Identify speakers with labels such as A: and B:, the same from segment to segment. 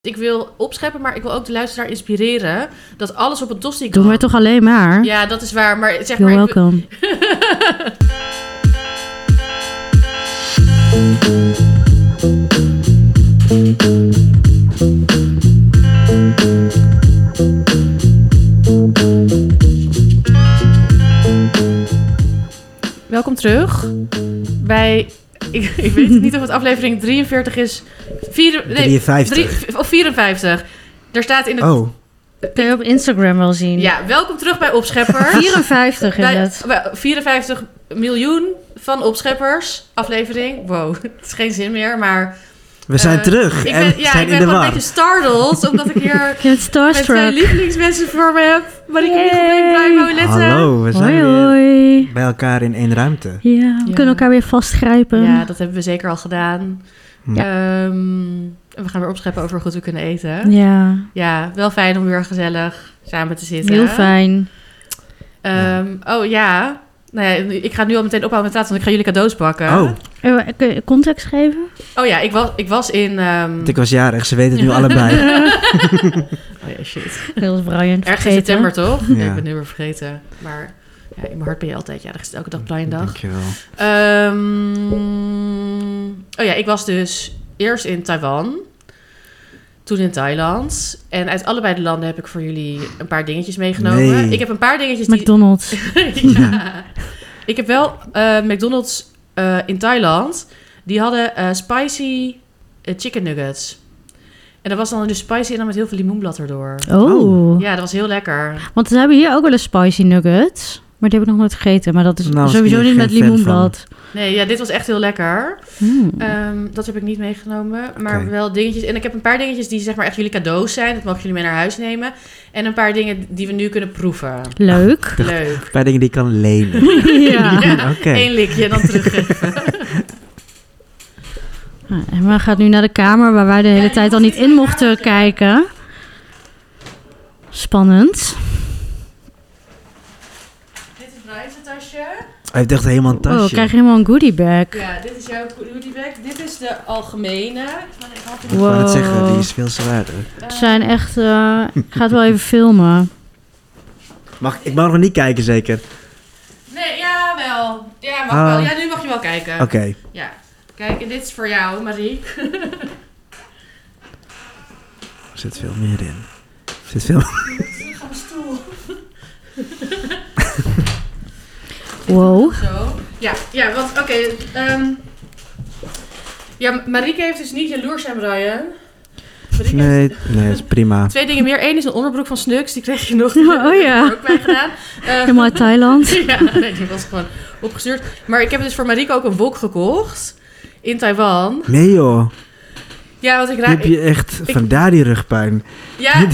A: Ik wil opscheppen, maar ik wil ook de luisteraar inspireren. Dat alles op een tosti kan.
B: Doen we toch alleen maar?
A: Ja, dat is waar. Maar zeg
B: You're
A: maar... ik wil-
B: welcome.
A: Welkom terug bij... Ik, ik weet niet of het aflevering 43 is. Vier, nee,
C: 53.
A: drie- of 54. Daar staat in het...
C: Oh,
B: Kun je op Instagram wel zien.
A: Ja, welkom terug bij Opschepper.
B: 54 is
A: Bij,
B: het.
A: bij 54 miljoen van Opscheppers aflevering. Wow, het is geen zin meer, maar...
C: we zijn
A: Eh,
C: terug
A: Ik
C: en
A: ben, ja,
C: zijn
A: ik ben
C: in
A: gewoon
C: de
A: een
C: war.
A: beetje startled, omdat ik hier
B: Ik ben
A: met mijn
B: starstruck.
A: lievelingsmensen voor me heb.
B: eh,
A: Maar ik niet
B: Yay.
A: bij Paulette.
C: Hallo, we zijn
B: Hoi
C: weer
B: hoi.
C: bij elkaar in één ruimte.
B: Ja, we
A: Ja.
B: kunnen elkaar weer vastgrijpen.
A: Ja, dat hebben we zeker al gedaan.
C: Hm.
A: Ehm, we gaan weer opscheppen over hoe goed we kunnen eten. Ja.
B: Ja,
A: wel fijn om weer gezellig samen te zitten.
B: heel fijn.
A: Ehm, Oh ja. Nou ja, ik ga nu al meteen ophouden met praten, want ik ga jullie cadeaus bakken.
C: Oh,
B: Eh, Kun je context geven?
A: Oh ja, ik was, ik was in... ehm,
C: want ik was jarig, ze weten het nu allebei.
A: Oh ja, shit.
B: Heel Brian.
A: Ergens in
B: vergeten.
A: september, toch?
C: Ja.
A: Nee, ik ben het nu weer vergeten. Maar ja, in mijn hart ben je altijd. Ja, dat is elke dag Brian dag.
C: Dankjewel.
A: Ehm, oh ja, ik was dus eerst in Taiwan, toen in Thailand. En uit allebei de landen heb ik voor jullie een paar dingetjes meegenomen.
C: Nee.
A: Ik heb een paar dingetjes die...
B: McDonald's.
A: ja. Ik heb wel eh, McDonald's eh, in Thailand. Die hadden eh, spicy eh, chicken nuggets. En dat was dan dus spicy en dan met heel veel limoenblad erdoor.
B: Oh.
C: Oh.
A: Ja, dat was heel lekker.
B: Want ze hebben hier ook wel eens spicy nuggets. Maar die heb ik nog nooit gegeten. Maar dat is
C: Nou, was ik
B: sowieso
C: hier
B: niet met
C: geen fan
B: limoenblad.
A: Nee, ja, dit was echt heel lekker.
B: Hmm.
A: Ehm, dat heb ik niet meegenomen, maar
C: Oké.
A: wel dingetjes. En ik heb een paar dingetjes die zeg maar echt jullie cadeaus zijn. Dat mogen jullie mee naar huis nemen. En een paar dingen die we nu kunnen proeven.
B: Leuk.
A: Leuk.
C: Een paar dingen die ik kan lenen.
B: ja.
A: Ja,
C: Oké.
A: Eén likje en dan teruggeven.
B: Nou, Emma gaat nu naar de kamer waar wij de hele tijd al niet in mochten kijken. Spannend. Oh,
A: dit is Brian's tasje.
C: Hij heeft echt helemaal een
B: Oh, ik
C: tasje.
B: krijg helemaal een goodie bag.
A: Ja, dit is jouw goodiebag. Dit is de algemene. Ik ben- ik had hem-
C: Ik wou net zeggen,
B: Wow.
C: die is veel zwaarder.
A: eh,
B: Het zijn echt... eh, ik ga het wel even filmen.
C: Mag, ik mag nog niet kijken zeker?
A: Nee, ja, wel. Ja, mag
C: Ah.
A: wel. Ja, nu mag je wel kijken.
C: Oké.
A: Ja. Kijk, en dit is voor jou, Marie.
C: Er zit veel meer in. Er zit veel...
A: Ik ga mijn stoel.
B: Wow.
A: Zo. Ja, ja want oké. ehm, ja, Marieke heeft dus niet jaloers zijn, Brian. Marieke heeft
C: Nee, nee, dat is prima.
A: twee dingen meer. Eén is een onderbroek van Snux, die kreeg je nog.
B: Oh ja.
A: Heb ik ook bij gedaan. Eh,
B: Helemaal uit Thailand.
A: ja, nee, die was gewoon opgestuurd. Maar ik heb dus voor Marieke ook een wok gekocht in Taiwan.
C: Nee joh,
A: Ja, want ik
C: die
A: raak.
C: heb je echt vandaar die rugpijn.
A: Ja,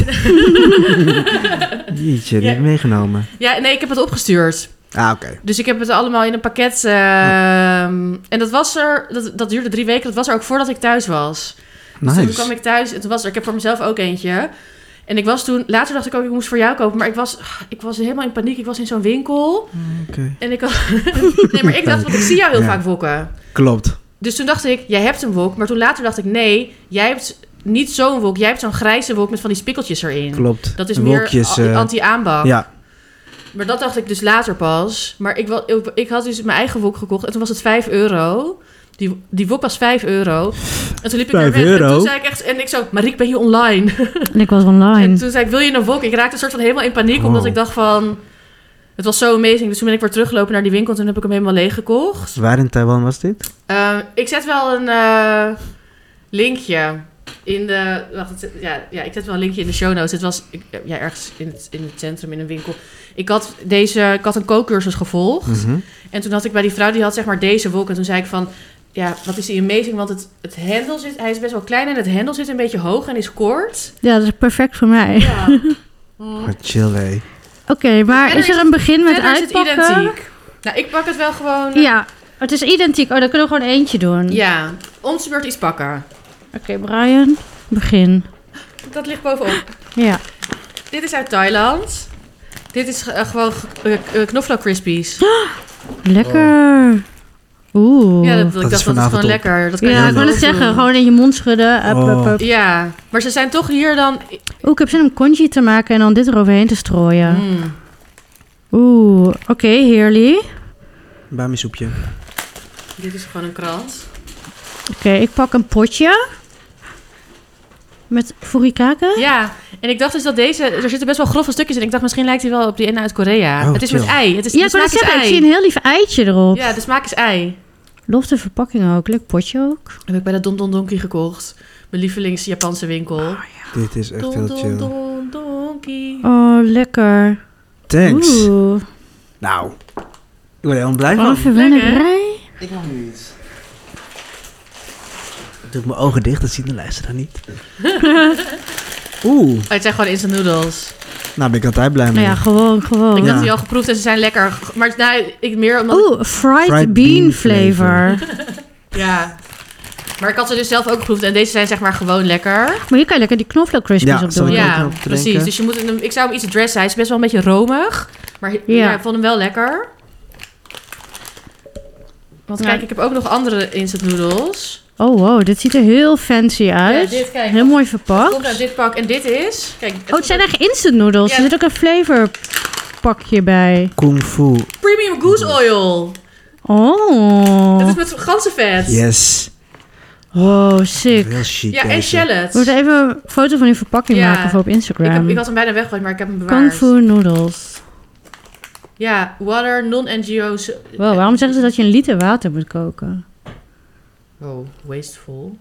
C: Jeetje, die
A: Ja.
C: heb ik meegenomen.
A: ja, nee, ik heb het opgestuurd.
C: Ah, oké.
A: Dus ik heb het allemaal in een pakket. ehm,
B: Oh.
A: En dat was er. Dat, dat duurde drie weken. Dat was er ook voordat ik thuis was. Dus
C: Nice.
A: toen kwam ik thuis en toen was er, ik heb voor mezelf ook eentje. En ik was toen, later dacht ik ook, ik moest voor jou kopen. Maar ik was, ik was helemaal in paniek. Ik was in zo'n winkel.
C: Oké.
A: En ik had, nee, maar ik dacht, want ik zie jou heel
C: Ja.
A: vaak wokken.
C: Klopt.
A: Dus toen dacht ik, jij hebt een wok. Maar toen later dacht ik, nee, jij hebt niet zo'n wok. Jij hebt zo'n grijze wok met van die spikkeltjes erin.
C: Klopt.
A: Dat is
C: En
A: meer
C: wolkjes,
A: a-
C: eh,
A: anti-aanbak.
C: Ja,
A: Maar dat dacht ik dus later pas. Maar ik, wa- ik, ik had dus mijn eigen wok gekocht. En toen was het 5 euro. Die, die wok was 5 euro. En toen liep ik naar
C: Vijf
A: weg. En
C: euro?
A: toen zei ik echt... En ik zo, Mariek, ben je online?
B: En ik was
A: En
B: online.
A: toen zei ik, wil je een wok? Ik raakte een soort van helemaal in paniek,
C: Wow.
A: omdat ik dacht van... Het was zo amazing. Dus toen ben ik weer teruggelopen naar die winkel en toen heb ik hem helemaal leeg gekocht.
C: waar in Taiwan was dit?
A: Ehm, ik zet wel een eh, linkje in de... Wacht, het- ja, ja, ik zet wel een linkje in de show notes. Het was ik- ja, ergens in het, in het centrum, in een winkel. Ik had, deze, ik had een kookcursus gevolgd.
C: Mhm.
A: En toen had ik bij die vrouw, die had zeg maar deze wok. En toen zei ik van, ja, wat is die amazing? Want het, het hendel zit... Hij is best wel klein en het hendel zit een beetje hoog en is kort.
B: Ja, dat is perfect voor mij.
A: Ja. Mm.
C: Wat Oh, chill, hé.
B: Oké, maar
A: Verder
B: is er
A: is-
B: een begin met
A: Verder
B: uitpakken?
A: is het identiek. Nou, ik pak het wel gewoon. eh,
B: Ja, het is identiek. Oh, dan kunnen we gewoon eentje doen.
A: ja. Om de beurt iets pakken.
B: Oké, Brian. Begin.
A: Dat ligt bovenop.
B: Ja.
A: Dit is uit Thailand.
B: Oh.
A: Dit is eh, gewoon eh, eh, knoflook crispies.
B: Lekker. Oeh.
A: Ja, dat, ik
C: is
A: dacht dat is
C: vanavond
A: gewoon
C: op.
A: lekker. Dat kan
B: Ja,
A: je
B: ik wil het
A: overal
B: zeggen.
A: doen.
B: Gewoon in je mond schudden. Up, up,
C: Oh.
B: up.
A: Ja, maar ze zijn toch hier dan...
B: Oeh, ik heb zin om congee te maken en dan dit eroverheen te strooien.
A: Mm.
B: Oeh, oké, heerly. Oké,
C: Bami soepje.
A: Dit is gewoon een krant.
B: ik pak een potje. Met furikake.
A: Ja, en ik dacht dus dat deze... Er zitten best wel grove stukjes in. Ik dacht, misschien lijkt hij wel op die ene uit Korea.
C: Oh,
A: het is
C: chill.
A: met ei. Het is,
B: Ja,
A: de
B: ik wil
A: smaak
B: het
A: is
B: zeggen. Ik
A: ei.
B: zie een heel lief eitje erop.
A: Ja, de smaak is ei.
B: Lof de verpakking ook. Leuk potje ook.
A: Heb ik bij de Don Don Donki gekocht. Mijn lievelings Japanse winkel.
C: Dit is echt
A: Don
C: heel
A: Don
C: chill.
A: Don Donki.
B: Oh, lekker.
C: Thanks.
B: Oeh,
C: Nou, ik word er helemaal blij
B: wat een
C: van.
B: verwennerij.
C: Ik mag nu iets. Ik doe mijn ogen dicht, dat zien de luisteraar niet. Oeh,
A: Oh, het zijn gewoon instant noodles.
C: nou ben ik altijd blij
B: Nou
C: mee.
B: ja, gewoon,
A: Ik
B: gewoon.
A: had
C: Ja.
A: die al geproefd en ze zijn lekker. Maar nou, ik meer omdat...
B: Oeh, fried, bean
C: Fried bean
B: flavor.
A: Ja. Maar ik had ze dus zelf ook geproefd en deze zijn zeg maar gewoon lekker.
B: Maar hier kan je lekker die knoflook
C: Ja,
B: crispies op
C: zal
B: doen.
C: ik ook
A: Ja,
C: nog te
A: precies.
C: drinken.
A: Dus je moet hem, ik zou hem iets dressen. Hij is best wel een beetje romig. Maar ja.
B: Ja.
A: ik vond hem wel lekker. Want
B: Ja.
A: kijk, ik heb ook nog andere instant noodles.
B: Oh wow, dit ziet er heel fancy uit.
A: Ja, dit, kijk.
B: heel mooi
A: Komt uit
B: verpakt.
A: dit pak en dit is... Kijk,
B: Oh, het zijn echt instant noodles.
A: Ja.
B: Er zit ook een flavor pakje bij.
C: Kung Fu.
A: premium goose oil. Het
B: Oh,
A: is met ganzenvet.
C: Yes.
B: wow, sick.
C: Heel chic.
A: Ja, en
C: deze.
B: We moeten
A: shallots.
B: even een foto van die verpakking
A: Ja.
B: maken voor op
A: Ik, heb,
B: Instagram.
A: ik had hem bijna weggegooid, maar ik heb hem bewaard.
B: Kung Fu noodles.
A: Ja, water, non-NGO's.
B: Wow, waarom zeggen ze dat je een liter water moet koken?
A: Oh, wasteful.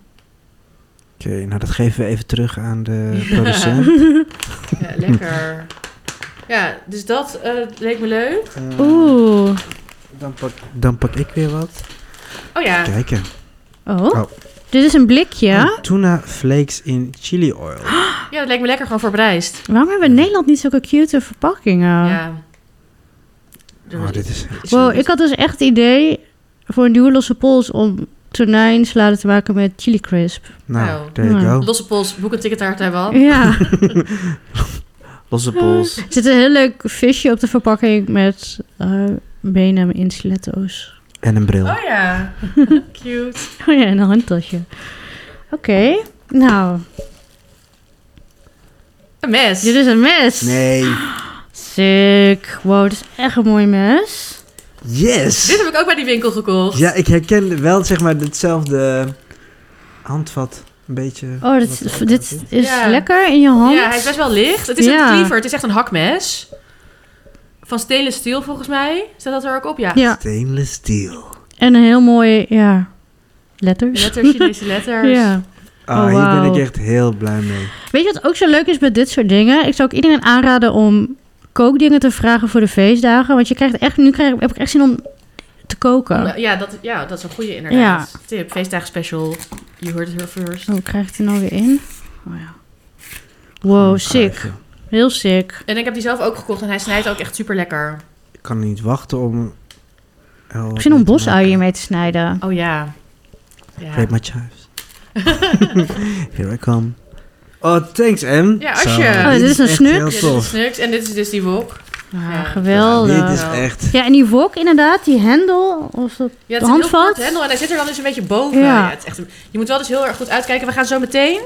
C: Oké, nou dat geven we even terug aan de producent.
A: Ja, lekker. Ja, dus dat eh, leek me leuk.
C: Eh,
B: Oeh.
C: Dan, pak, dan pak ik weer wat.
A: Oh ja,
C: Kijken.
B: Oh.
C: Oh.
B: Dit is een blikje.
C: Oh, tuna flakes in chili oil.
A: ja dat leek me lekker gewoon voor Brijst.
B: Waarom hebben we in Nederland niet zulke cute verpakkingen?
A: Ja.
C: Oh, dit is...
A: Nou.
B: Wow, ik had dus echt het idee voor een nieuwe losse pols om tonijn salade te maken met chili crisp.
C: Nou,
A: Nou.
C: there you
B: Ja.
C: go.
A: Losse pols, boek een ticket naar Taiwan.
B: Ja,
C: Losse pols.
B: er zit een heel leuk visje op de verpakking met eh, benen in stiletto's.
C: En een bril.
A: Oh ja, cute.
B: Oh ja, en een handtasje. Oké, nou,
A: Een mes.
B: dit is een mes.
C: Nee.
B: Sick. Wow, dit is echt een mooi mes.
A: Dit
C: Yes!
A: heb ik ook bij die winkel gekocht.
C: Ja, ik herken wel zeg maar hetzelfde handvat. Een beetje.
B: Oh,
C: wat
B: dit,
C: er
B: is-
C: ook
B: dit
C: aan zit.
B: is
A: Ja.
B: lekker in je hand.
A: Ja, hij is best wel licht. Het is
B: Ja.
A: een cleaver, het is echt een hakmes. Van stelen steel volgens mij. Staat dat er ook op? Ja.
B: Ja,
C: Stainless steel.
B: en een heel mooi, ja, letters.
A: Letters, Chinese letters.
B: Ja.
C: Ah,
B: Oh,
C: hier ben
B: wauw.
C: ik echt heel blij mee.
B: Weet je wat ook zo leuk is met dit soort dingen? Ik zou ook iedereen aanraden om kookdingen te vragen voor de feestdagen. Want je krijgt echt, nu krijg, heb ik echt zin om te koken.
A: Nou, Ja, dat, ja, dat is een goede inderdaad. Tip, feestdagen special. You heard it here first.
B: Oh, krijg ik die nou weer in? Oh ja. Wow,
C: Ik ga
B: sick.
C: even-
B: Heel sick.
A: En ik heb die zelf ook gekocht en hij snijdt ook echt super lekker.
C: Ik kan niet wachten om. Oh,
B: Misschien om bosuien mee te snijden.
A: Oh ja. ja.
C: Rape my chives. Here I come. Oh, thanks, M.
A: Ja, alsje.
C: Zo,
A: Oh,
B: dit is een
C: echt
B: snuk.
A: Ja,
C: Heel
A: dit is
C: tof.
A: Snux en dit is dus die wok.
B: Ah,
A: Ja.
B: geweldig.
C: Ja,
B: Ja,
C: dit is echt.
B: en die wok inderdaad, die hendel. Of dat...
A: Ja, het
B: De
A: is een heel
B: handvat?
A: kort hendel en hij zit er dan dus een beetje boven.
B: Ja.
A: Ja. het is echt een- je moet wel dus heel erg goed uitkijken. We gaan zo meteen...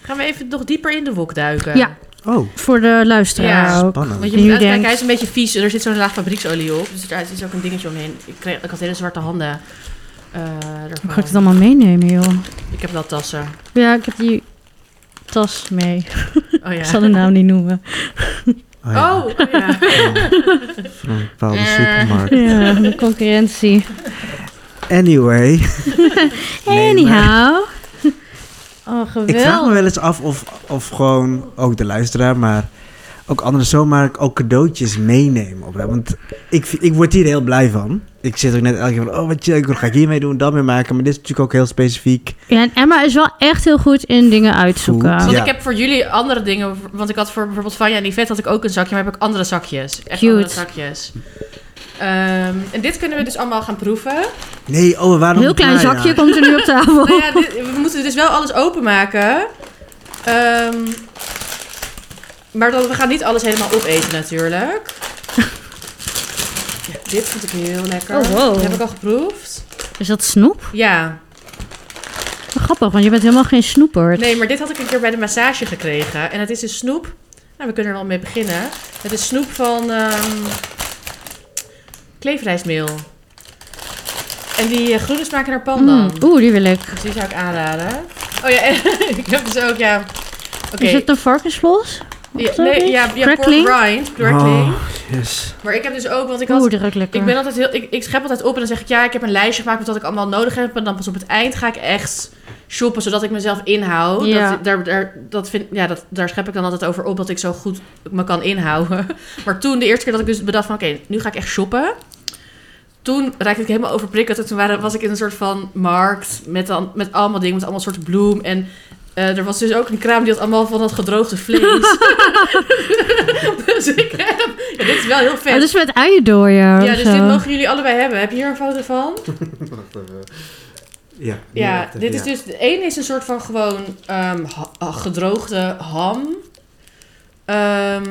A: Gaan we even nog dieper in de wok duiken.
B: Ja.
C: Oh,
B: Voor de luisteraar
A: Ja.
B: ook.
C: spannend.
A: Want je
B: Die
A: moet
B: u
A: uitkijken,
B: denkt-
A: hij is een beetje vies. Er zit zo'n laag fabrieksolie op. Dus daar is ook een dingetje omheen. Ik, kreeg, ik had hele zwarte handen. eh, ervan.
B: Hoe ga ik het allemaal meenemen, joh?
A: Ik heb wel tassen.
B: Ja, ik heb die tas mee.
A: Oh
B: Ik
A: ja.
B: zal de naam niet noemen.
C: Oh, ja.
A: Oh, oh ja.
C: Van een bepaalde
A: Eh.
C: supermarkt.
B: Ja, de concurrentie.
C: Anyway. Nee, maar
B: Anyhow. Oh,
C: Ik vraag me
B: geweldig.
C: wel eens af of, of gewoon ook de luisteraar, maar ook anderen zomaar ook cadeautjes meenemen. Op, want ik, ik word hier heel blij van. Ik zit ook net elke keer van, oh wat chill, wat ga ik hiermee doen, dat mee maken. Maar dit is natuurlijk ook heel specifiek.
B: Ja, en Emma is wel echt heel goed in dingen uitzoeken.
C: Goed,
A: Want
C: Ja.
A: ik heb voor jullie andere dingen. Want ik had voor bijvoorbeeld Vanja en Yvette had ik ook een zakje, maar heb ik andere zakjes. Echt
B: Cute.
A: andere zakjes. Ehm, en dit kunnen we dus allemaal gaan proeven.
C: Nee, oh,
B: Een
C: waarom...
B: heel klein
C: nou ja.
B: zakje komt er nu op tafel.
A: Nou ja, dit- we moeten dus wel alles openmaken. Ehm, maar dan, we gaan niet alles helemaal opeten natuurlijk. Ja, Dit vond ik heel lekker.
B: Oh, wow.
A: Die heb ik al geproefd.
B: Is dat snoep?
A: Ja.
B: Wel grappig, want je bent helemaal geen snoepert.
A: Nee, maar dit had ik een keer bij de massage gekregen. En het is een snoep. Nou, we kunnen er al mee beginnen. Het is snoep van ehm kleefrijsmeel. En die eh, groene smaken naar pandan.
B: Mm, Oeh, die wil ik.
A: Dus die zou ik aanraden. Oh ja, en ik heb dus ook, ja... Oké.
B: Is het een varkensvlos?
A: Ja,
B: Of zo
A: nee,
B: iets?
A: ja, ja, pork
B: Crackling?
A: rind, crackling.
C: Oh, yes.
A: Maar ik heb dus ook, want ik
B: Oeh,
A: had...
B: die ruikt lekker.
A: Ik ben altijd heel... Ik, ik schep altijd op en dan zeg ik... Ja, ik heb een lijstje gemaakt met wat ik allemaal nodig heb. En dan pas op het eind ga ik echt shoppen, zodat ik mezelf inhoud.
B: Ja.
A: Dat, daar, daar, dat vind, ja, dat, daar schep ik dan altijd over op, dat ik zo goed me kan inhouden. Maar toen, de eerste keer dat ik dus bedacht van... Oké, nu ga ik echt shoppen. Toen raakte ik helemaal overprikkeld. En toen waren, was ik in een soort van markt met, dan, met allemaal dingen. Met allemaal soorten bloem. En eh, er was dus ook een kraam die had allemaal van dat gedroogde vlees. dus ik heb... Ja, dit is wel heel vet.
B: Oh, dus met uiendooier
A: Ja,
B: of
A: dus
B: zo.
A: dit mogen jullie allebei hebben. Heb je hier een foto van?
C: Ja,
A: Ja,
C: ja,
A: dit is
C: ja.
A: dus... De ene is een soort van gewoon ehm, ha- ah, gedroogde ham. Ehm,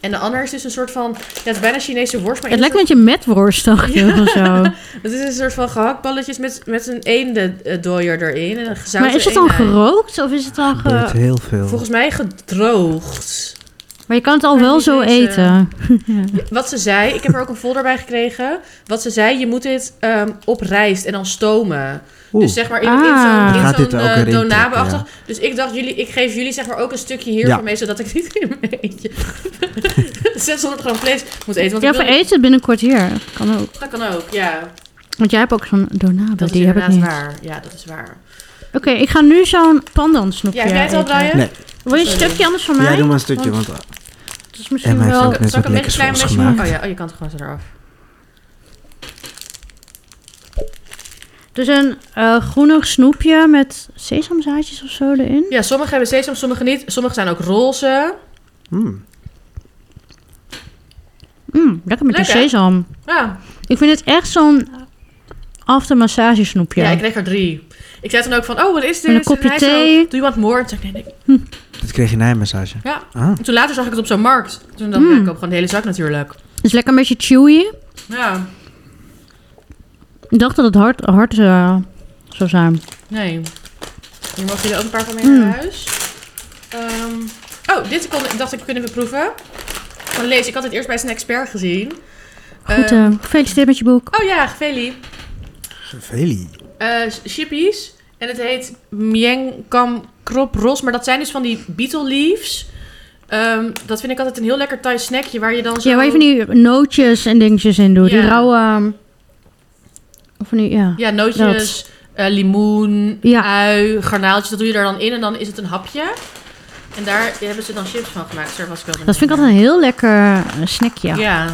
A: en de ander is dus een soort van... Ja, het is bijna Chinese worst, maar...
B: Het
A: in een
B: lijkt een beetje metworst, dacht ik, of zo.
A: soort- Het is een soort van gehaktballetjes met, met een eendendooier erin. En een gezouten
B: Maar is het dan
A: eenheid.
B: gerookt of is het dan ge...
C: Gebeurt heel veel.
A: Volgens mij gedroogd.
B: Maar je kan het al
A: Maar
B: wel
A: niet
B: zo
A: deze.
B: eten.
A: eh, Wat ze zei, ik heb er ook een folder bij gekregen. Wat ze zei, je moet dit ehm, op rijst en dan stomen.
C: Oeh,
A: Dus zeg maar in, in
B: Ah.
A: zo'n, in
C: Gaat dit
A: zo'n
C: er ook
A: eh,
C: erin
A: donabe-achtig.
C: trekken,
A: Dus ik dacht, jullie, ik geef jullie zeg maar ook een stukje hiervan
C: Ja.
A: mee, zodat ik niet in mijn eentje 600 gram vlees moet eten. Want
B: Ja,
A: ik
B: voor
A: wil-
B: eten binnenkort hier. Kan ook.
A: Dat kan ook, ja.
B: Want jij hebt ook zo'n donabe,
A: Dat is
B: die heb ik
A: inderdaad
B: niet.
A: waar. Ja, dat is waar.
B: Oké, ik ga nu zo'n pandan snoepje
A: Ja, heb jij het al,
B: eten.
A: Brian?
C: Nee.
B: Wil je een
A: Sorry.
B: stukje anders van mij?
C: Ja, doe maar een stukje, want ah,
B: Dat is misschien
C: Emma heeft
B: wel...
C: ook net
A: Zal ik
C: wat
A: een beetje
C: lekkers voor
A: klein
C: ons
A: mesje maken?
C: gemaakt.
A: Oh ja, oh, je kan het gewoon zo eraf.
B: Dus een eh groenig snoepje met sesamzaadjes of zo erin.
A: Ja, sommige hebben sesam, sommige niet. Sommige zijn ook roze.
C: Hmm.
B: Mm, lekker met die
A: Lekker.
B: sesam.
A: Ja,
B: Ik vind het echt zo'n aftermassage snoepje.
A: ja. ik kreeg er drie. Ik zei toen ook van, oh, wat is dit?
B: En een kopje
A: hij zo,
B: thee.
A: Doe je wat more? En toen zei ik, nee, nee.
C: Dit kreeg je na een massage.
A: Ja.
C: Ah.
A: En toen later zag ik het op zo'n markt. Toen dacht ik,
B: Mm.
A: ja, ik koop gewoon de hele zak natuurlijk.
B: Het is lekker een beetje chewy.
A: Ja,
B: Ik dacht dat het hard, hard eh, zou zijn.
A: nee. Hier mogen jullie ook een paar van mee
B: Mm.
A: naar huis. Ehm, oh, dit kon, dacht ik, kunnen we proeven. Van Lees, ik had het eerst bij Snacksper gezien.
B: Goed,
A: Ehm,
B: eh, gefeliciteerd met je boek.
A: oh ja, Geveli.
C: Veli.
A: eh chippies. En het heet Myenkam Krop Ros. Maar dat zijn dus van die beetle leaves. Ehm, dat vind ik altijd een heel lekker Thai snackje. Waar je dan zo...
B: Ja, waar je van die nootjes en dingetjes in doet. Die
A: Ja.
B: rauwe... ehm, Of van die, ja.
A: Ja, nootjes, eh, limoen,
B: Ja.
A: ui, garnaaltjes. Dat doe je er dan in en dan is het een hapje. En daar hebben ze dan chips van gemaakt. Sorry, was ik wel
B: Dat vind ik
A: benieuwd
B: altijd een heel lekker eh, snackje.
A: naar. Ja.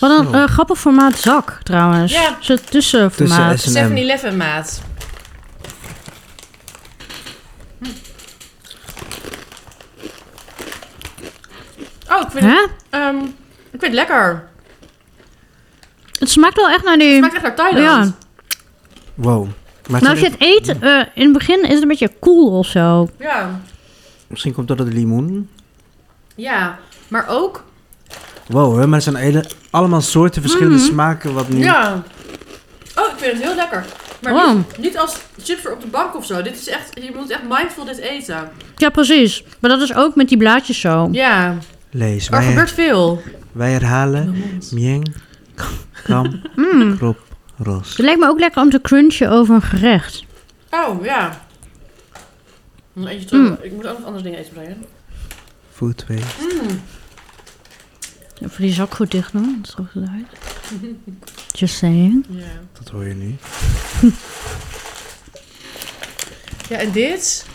B: Wat een
C: Zo.
B: eh, grappig formaat zak, trouwens.
A: Ja.
B: Zo'n tussenformaat.
C: Tussen S-
A: 7-Eleven maat. Hm. Oh, ik vind, het,
B: Hè?
A: ehm, ik vind het lekker.
B: Het smaakt wel echt naar die...
A: Het smaakt echt naar Thailand.
B: Ja.
C: Wow. Maar
B: Nou, als je het eet, eh, in het begin is het een beetje koel of zo.
A: Ja.
C: Misschien komt dat door de limoen.
A: Ja. Maar ook...
C: Wow, hè, maar het zijn hele, allemaal soorten verschillende smaken wat nu...
A: Mhm. Ja. Oh, ik vind het heel lekker. Maar
B: Wow.
A: niet, niet als chips voor op de bank of zo. Dit is echt... Je moet echt mindful dit eten.
B: Ja, precies. Maar dat is ook met die blaadjes zo.
A: Ja.
C: Lees,
A: Er
C: wij,
A: gebeurt veel.
C: wij herhalen Mieng, Kam,
B: Mm.
C: Krop, Ros.
B: Het lijkt me ook lekker om te crunchen over een gerecht.
A: Oh, ja. Dan eet je terug. Ik moet ook nog andere dingen eten, Brian.
C: Food waste.
B: Even die zak goed dicht doen, dat is goed uit. Just saying.
A: Ja.
C: Dat hoor je nu.
A: Ja, en dit.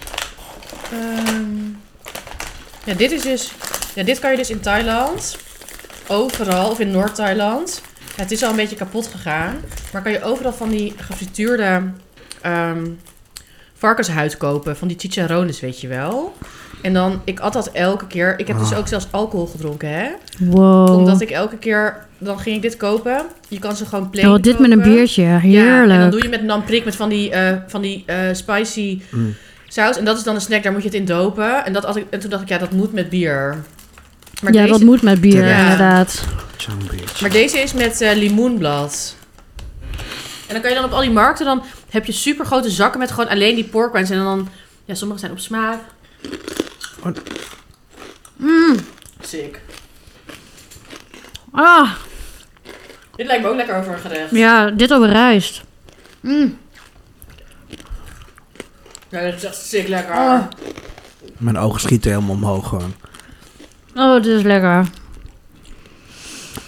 A: ehm, ja, dit is dus. Ja, dit kan je dus in Thailand. Overal, of in Noord-Thailand. Ja, het is al een beetje kapot gegaan. Maar kan je overal van die gefrituurde ehm, varkenshuid kopen. Van die chicharrones, weet je wel. En dan, ik at dat elke keer. Ik heb dus
C: Ah.
A: ook zelfs alcohol gedronken, hè.
B: Wow.
A: Omdat ik elke keer, dan ging ik dit kopen. Je kan ze gewoon plain
B: Oh, dit met een
A: kopen.
B: biertje,
A: Ja, en
B: heerlijk.
A: dan doe je met een namprik met van die, eh, van die eh, spicy
C: Mm.
A: saus. En dat is dan een snack, daar moet je het in dopen. En, dat had ik, en toen dacht ik, ja, dat moet met bier. Maar,
B: ja,
A: deze,
B: dat moet met bier,
A: Ja.
B: inderdaad.
C: Zo'n bitch.
A: maar deze is met eh, limoenblad. En dan kan je dan op al die markten, dan heb je super grote zakken met gewoon alleen die pork rinds. En dan, ja, sommige zijn op smaak.
C: Oh.
A: Mm. Sick.
B: Ah,
A: Dit lijkt me ook lekker over een gerecht.
B: ja, dit over rijst. Mm.
A: Ja, dat is echt sick lekker.
B: Oh.
C: Mijn ogen schieten helemaal omhoog gewoon.
B: Oh, dit is lekker.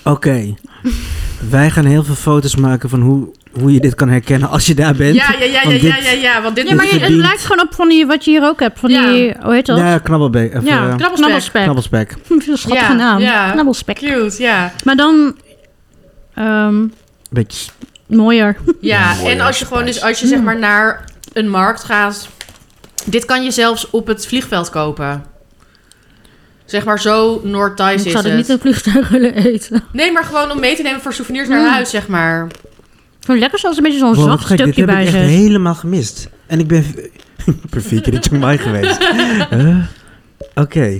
C: Oké. Wij gaan heel veel foto's maken van hoe, hoe je dit kan herkennen als je daar bent.
A: Ja, ja, ja, ja,
C: Want
A: ja,
C: dit-
A: ja, ja, want dit
B: Ja, maar je- het
C: verdient-
B: lijkt gewoon op van die, wat je hier ook hebt. Van
A: Ja.
B: die, hoe heet dat?
C: Ja, knabbelbek. Of,
B: Ja,
C: eh,
A: Knabbelspek.
B: knabbelspek.
C: knabbelspek.
B: Hm, Schattige
A: Ja,
B: naam.
A: ja.
B: Knabbelspek.
A: Cute, ja.
B: Maar dan ehm,
C: Beetje
B: mooier.
A: Ja,
D: Mooie
A: en als je gewoon
D: spice.
A: dus, als je
B: Hmm.
A: zeg maar naar een markt gaat, dit kan je zelfs op het vliegveld kopen. Zeg maar zo Noord-Thais
B: Ik
A: is
B: zou dit
A: het.
B: niet in vliegtuig willen eten.
A: Nee, maar gewoon om mee te nemen voor souvenirs naar
B: Mm.
A: huis, zeg maar.
B: Gewoon lekker zoals een beetje
A: Oh,
B: zo'n
C: Wow, wat
B: zacht
C: gek,
B: stukje
C: dit heb
B: bij
C: ik echt
B: zit.
C: helemaal gemist. En ik ben per vier keer in Chiang Mai geweest. Huh? Oké,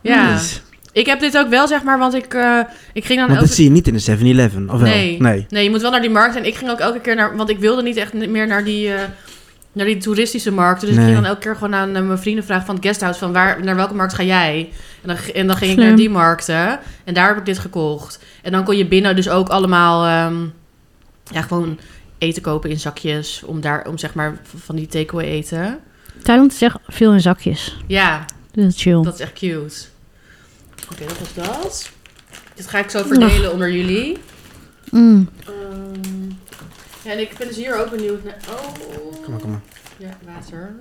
A: Ja.
B: Hmm.
C: nice.
A: Ik heb dit ook wel, zeg maar, want ik, eh, ik ging dan
C: Want dat
A: elke...
C: zie je niet in de 7-Eleven, of wel?
A: Nee. Nee, je moet wel naar die markt. En ik ging ook elke keer naar... Want ik wilde niet echt meer naar die, eh, naar die toeristische markten. Dus
C: Nee.
A: ik ging dan elke keer gewoon aan eh, mijn vrienden vragen van het guesthouse... van waar, naar welke markt ga jij? En dan, en dan ging ik
B: Slim.
A: naar die markten. En daar heb ik dit gekocht. En dan kon je binnen dus ook allemaal... ehm, ja, gewoon eten kopen in zakjes. Om daar, om zeg maar, v- van die takeaway eten.
B: Thailand is echt veel in zakjes.
A: Ja,
B: Dat is chill.
A: dat is echt cute. Oké, dat was dat. Dit ga ik zo verdelen onder jullie.
B: Mm.
A: Ehm, ja, en ik ben dus hier ook benieuwd naar. Oh.
C: Kom maar, kom maar.
A: Ja, water.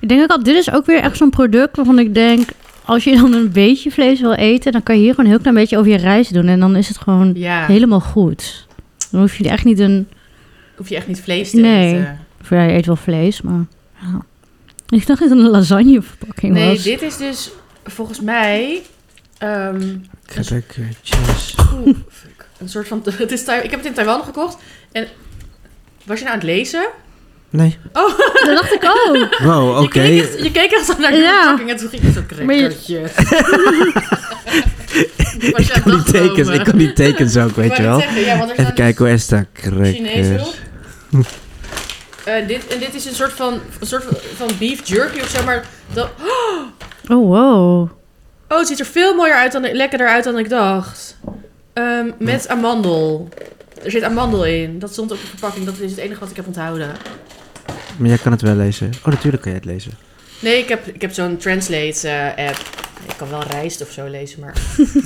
B: Ik denk ook al, dit is ook weer echt zo'n product waarvan ik denk... Als je dan een beetje vlees wil eten, dan kan je hier gewoon een heel klein beetje over je rijst doen. En dan is het gewoon
A: Ja.
B: helemaal goed. Dan hoef je echt niet een...
A: Hoef je echt niet vlees te
B: Nee.
A: eten.
B: Of ja, je eet wel vlees, maar... ja. Ik dacht dat het een lasagneverpakking
A: Nee,
B: was.
A: dit is dus volgens mij. ehm,
C: Crabbertjes.
A: oeh, fuck. een soort van. Het is Taiwan- ik heb het in Taiwan gekocht. En. Was je nou aan het lezen?
C: Nee.
B: Dat dacht ik ook.
C: Wow, oké.
A: Je, keek echt- je keek echt naar de
B: Ja.
A: verpakking en toen ging je zo
B: Maar je-
A: crackertje. Was je
C: Ik
A: aan
C: kan die
A: het
C: tekens,
A: dagdromen?
C: ik kan die tekens ook, weet je
A: Ik wou
C: wel.
A: net zeggen, ja, want er
C: Even
A: staan
C: kijken hoe Esta
A: dus Chinees op.
C: crackers.
A: Eh, dit, en dit is een soort van, een soort van- van beef jerky of zo, maar dat,
B: Oh, wow.
A: Oh, het ziet er veel mooier uit dan lekkerder uit dan ik dacht. Ehm, met amandel. Er zit amandel in. Dat stond op de verpakking. Dat is het enige wat ik heb onthouden.
C: Maar jij kan het wel lezen. Oh, natuurlijk kan jij het lezen.
A: Nee, ik heb, ik heb zo'n translate eh, app. Ik kan wel rijst of zo lezen, maar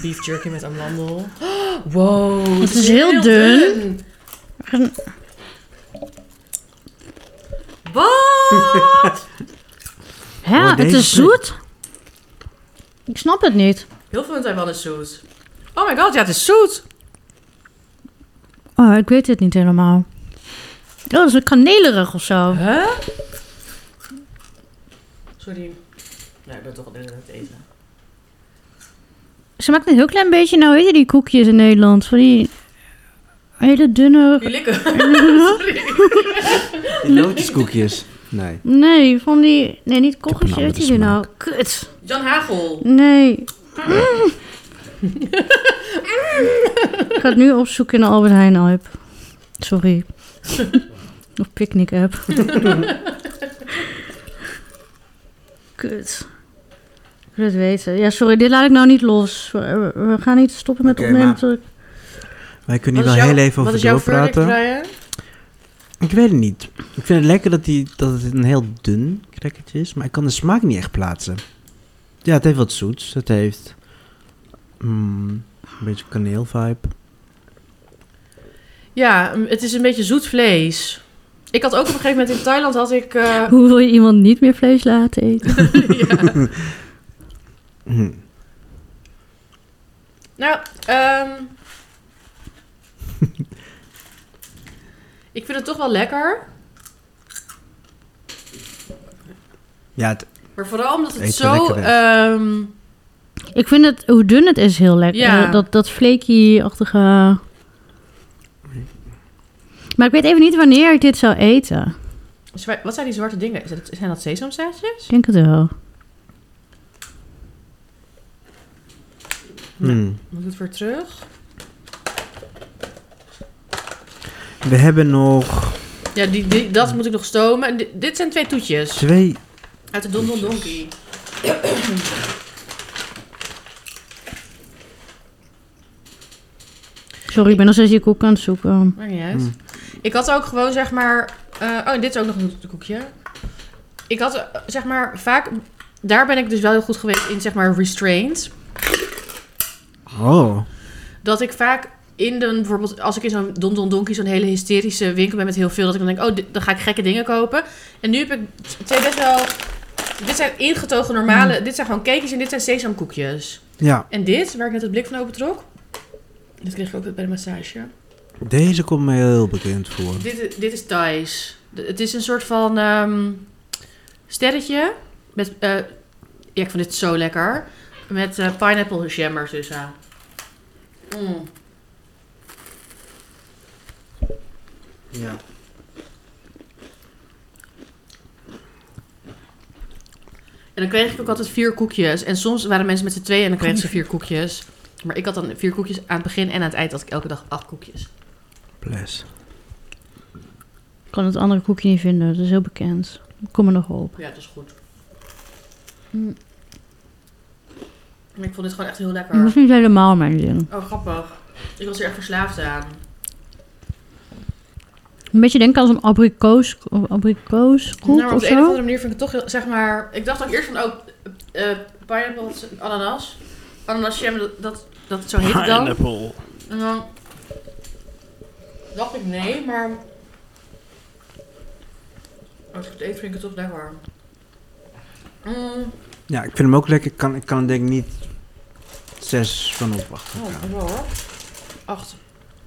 A: beef jerky met amandel. Wow, het,
B: is heel dun.
A: Wat?
B: Ja,
C: Oh,
B: het
C: deze
B: is zoet. Ik snap het niet.
A: Heel veel in Taiwan is zoet. Oh my god, ja, het is zoet.
B: Oh, ik weet het niet helemaal. Oh, dat is een kanelerig of zo.
A: Huh? Sorry. Nou, ik ben toch al de hele tijd aan het eten.
B: Ze maakt een heel klein beetje, nou weet je die koekjes in Nederland? Van die hele dunne...
A: Die likken. Sorry.
C: Loodjeskoekjes. Nee.
B: Nee, van die... Nee, niet
C: heb een
B: koekjes, weet je die
C: andere
B: nou? Kut.
A: Jan Hagel.
B: Nee. ik ga het nu opzoeken in de Albert Heijn app. Sorry. of Picnic app. Kut. Ik wil het weten. Ja, sorry, dit laat ik nou niet los. We, we- we gaan niet stoppen met
C: Oké,
B: opnemen.
C: maar-
B: tot ik-
C: Wij kunnen
A: Wat
C: hier
A: is jouw-
C: wel nou heel even
A: Wat
C: over
A: is jouw verdict,
C: doorpraten.
A: Brian?
C: Ik weet het niet. Ik vind het lekker dat, die, dat het een heel dun crackertje is, maar ik kan de smaak niet echt plaatsen. Ja, het heeft wat zoets. Het heeft mm, een beetje kaneel-vibe.
A: Ja, m, het is een beetje zoet vlees. Ik had ook op een gegeven moment in Thailand had ik... eh,
B: Hoe wil je iemand niet meer vlees laten eten?
A: ja.
C: Hm.
A: Nou, ehm, ik vind het toch wel lekker.
C: Ja, het,
A: Maar vooral omdat het
C: Eet wel
A: zo...
C: lekker weg.
A: ehm,
B: Ik vind het, hoe dun het is, heel lekker. Eh,
A: Ja.
B: Dat, dat flaky-achtige... Maar ik weet even niet wanneer ik dit zou eten.
A: Zwa- Wat zijn die zwarte dingen? Is dat- zijn dat sesamzaadjes?
B: Ik denk het wel.
C: Hmm.
A: Moet ik het weer terug?
C: We hebben nog
A: Ja, die, die, dat moet ik nog stomen. En di- dit zijn twee toetjes.
C: twee...
A: Uit de Don Don Donkey.
B: Sorry, ik ben nog steeds die koek aan het zoeken.
A: Maakt niet uit.
C: Mm.
A: Ik had ook gewoon zeg maar. eh, oh, en dit is ook nog een koekje. Ik had eh, zeg maar vaak. Daar ben ik dus wel heel goed geweest in zeg maar restraint.
C: Oh.
A: Dat ik vaak in de bijvoorbeeld als ik in zo'n Don Don Donkey zo'n hele hysterische winkel ben met heel veel dat ik dan denk oh dit- dan ga ik gekke dingen kopen. En nu heb ik t- twee best wel. Dit zijn ingetogen normale. Dit zijn gewoon cakejes en dit zijn sesamkoekjes.
C: Ja,
A: En dit waar ik net het blik van open trok. Dit kreeg ik ook bij de massage.
C: deze komt mij heel bekend voor.
A: Dit, dit is Thais. D- Het is een soort van ehm, sterretje. Met, eh, ja, ik vind dit zo lekker. Met eh, pineapple jam ertussen. Mm.
C: Ja.
A: En dan kreeg ik ook altijd vier koekjes. En soms waren mensen met z'n tweeën en dan kregen ze vier koekjes. Maar ik had dan vier koekjes aan het begin en aan het eind had ik elke dag acht koekjes.
C: Bless.
B: Ik kan het andere koekje niet vinden. Dat is heel bekend. Ik Kom er nog op.
A: Ja, dat is goed.
B: Mm.
A: Maar ik vond dit gewoon echt heel lekker.
B: Dat is niet helemaal mijn ding.
A: Oh, grappig. Ik was er echt verslaafd aan.
B: Een beetje denken aan zo'n abrikoos, abrikooskoek
A: nou, maar op
B: of
A: de een of
B: zo.
A: andere manier vind ik het toch heel, zeg maar... Ik dacht ook eerst van, oh, eh eh, pineapples, ananas. Ananas jam, dat, dat, dat zo heet het dan. En dan dacht ik nee, maar... Oh, Als ik het eet, vind ik het toch lekker. Mm,
C: Ja, ik vind hem ook lekker. Ik kan, ik kan er denk ik niet zes van opwachten.
A: oh,
C: Ja.
A: wel hoor. Acht.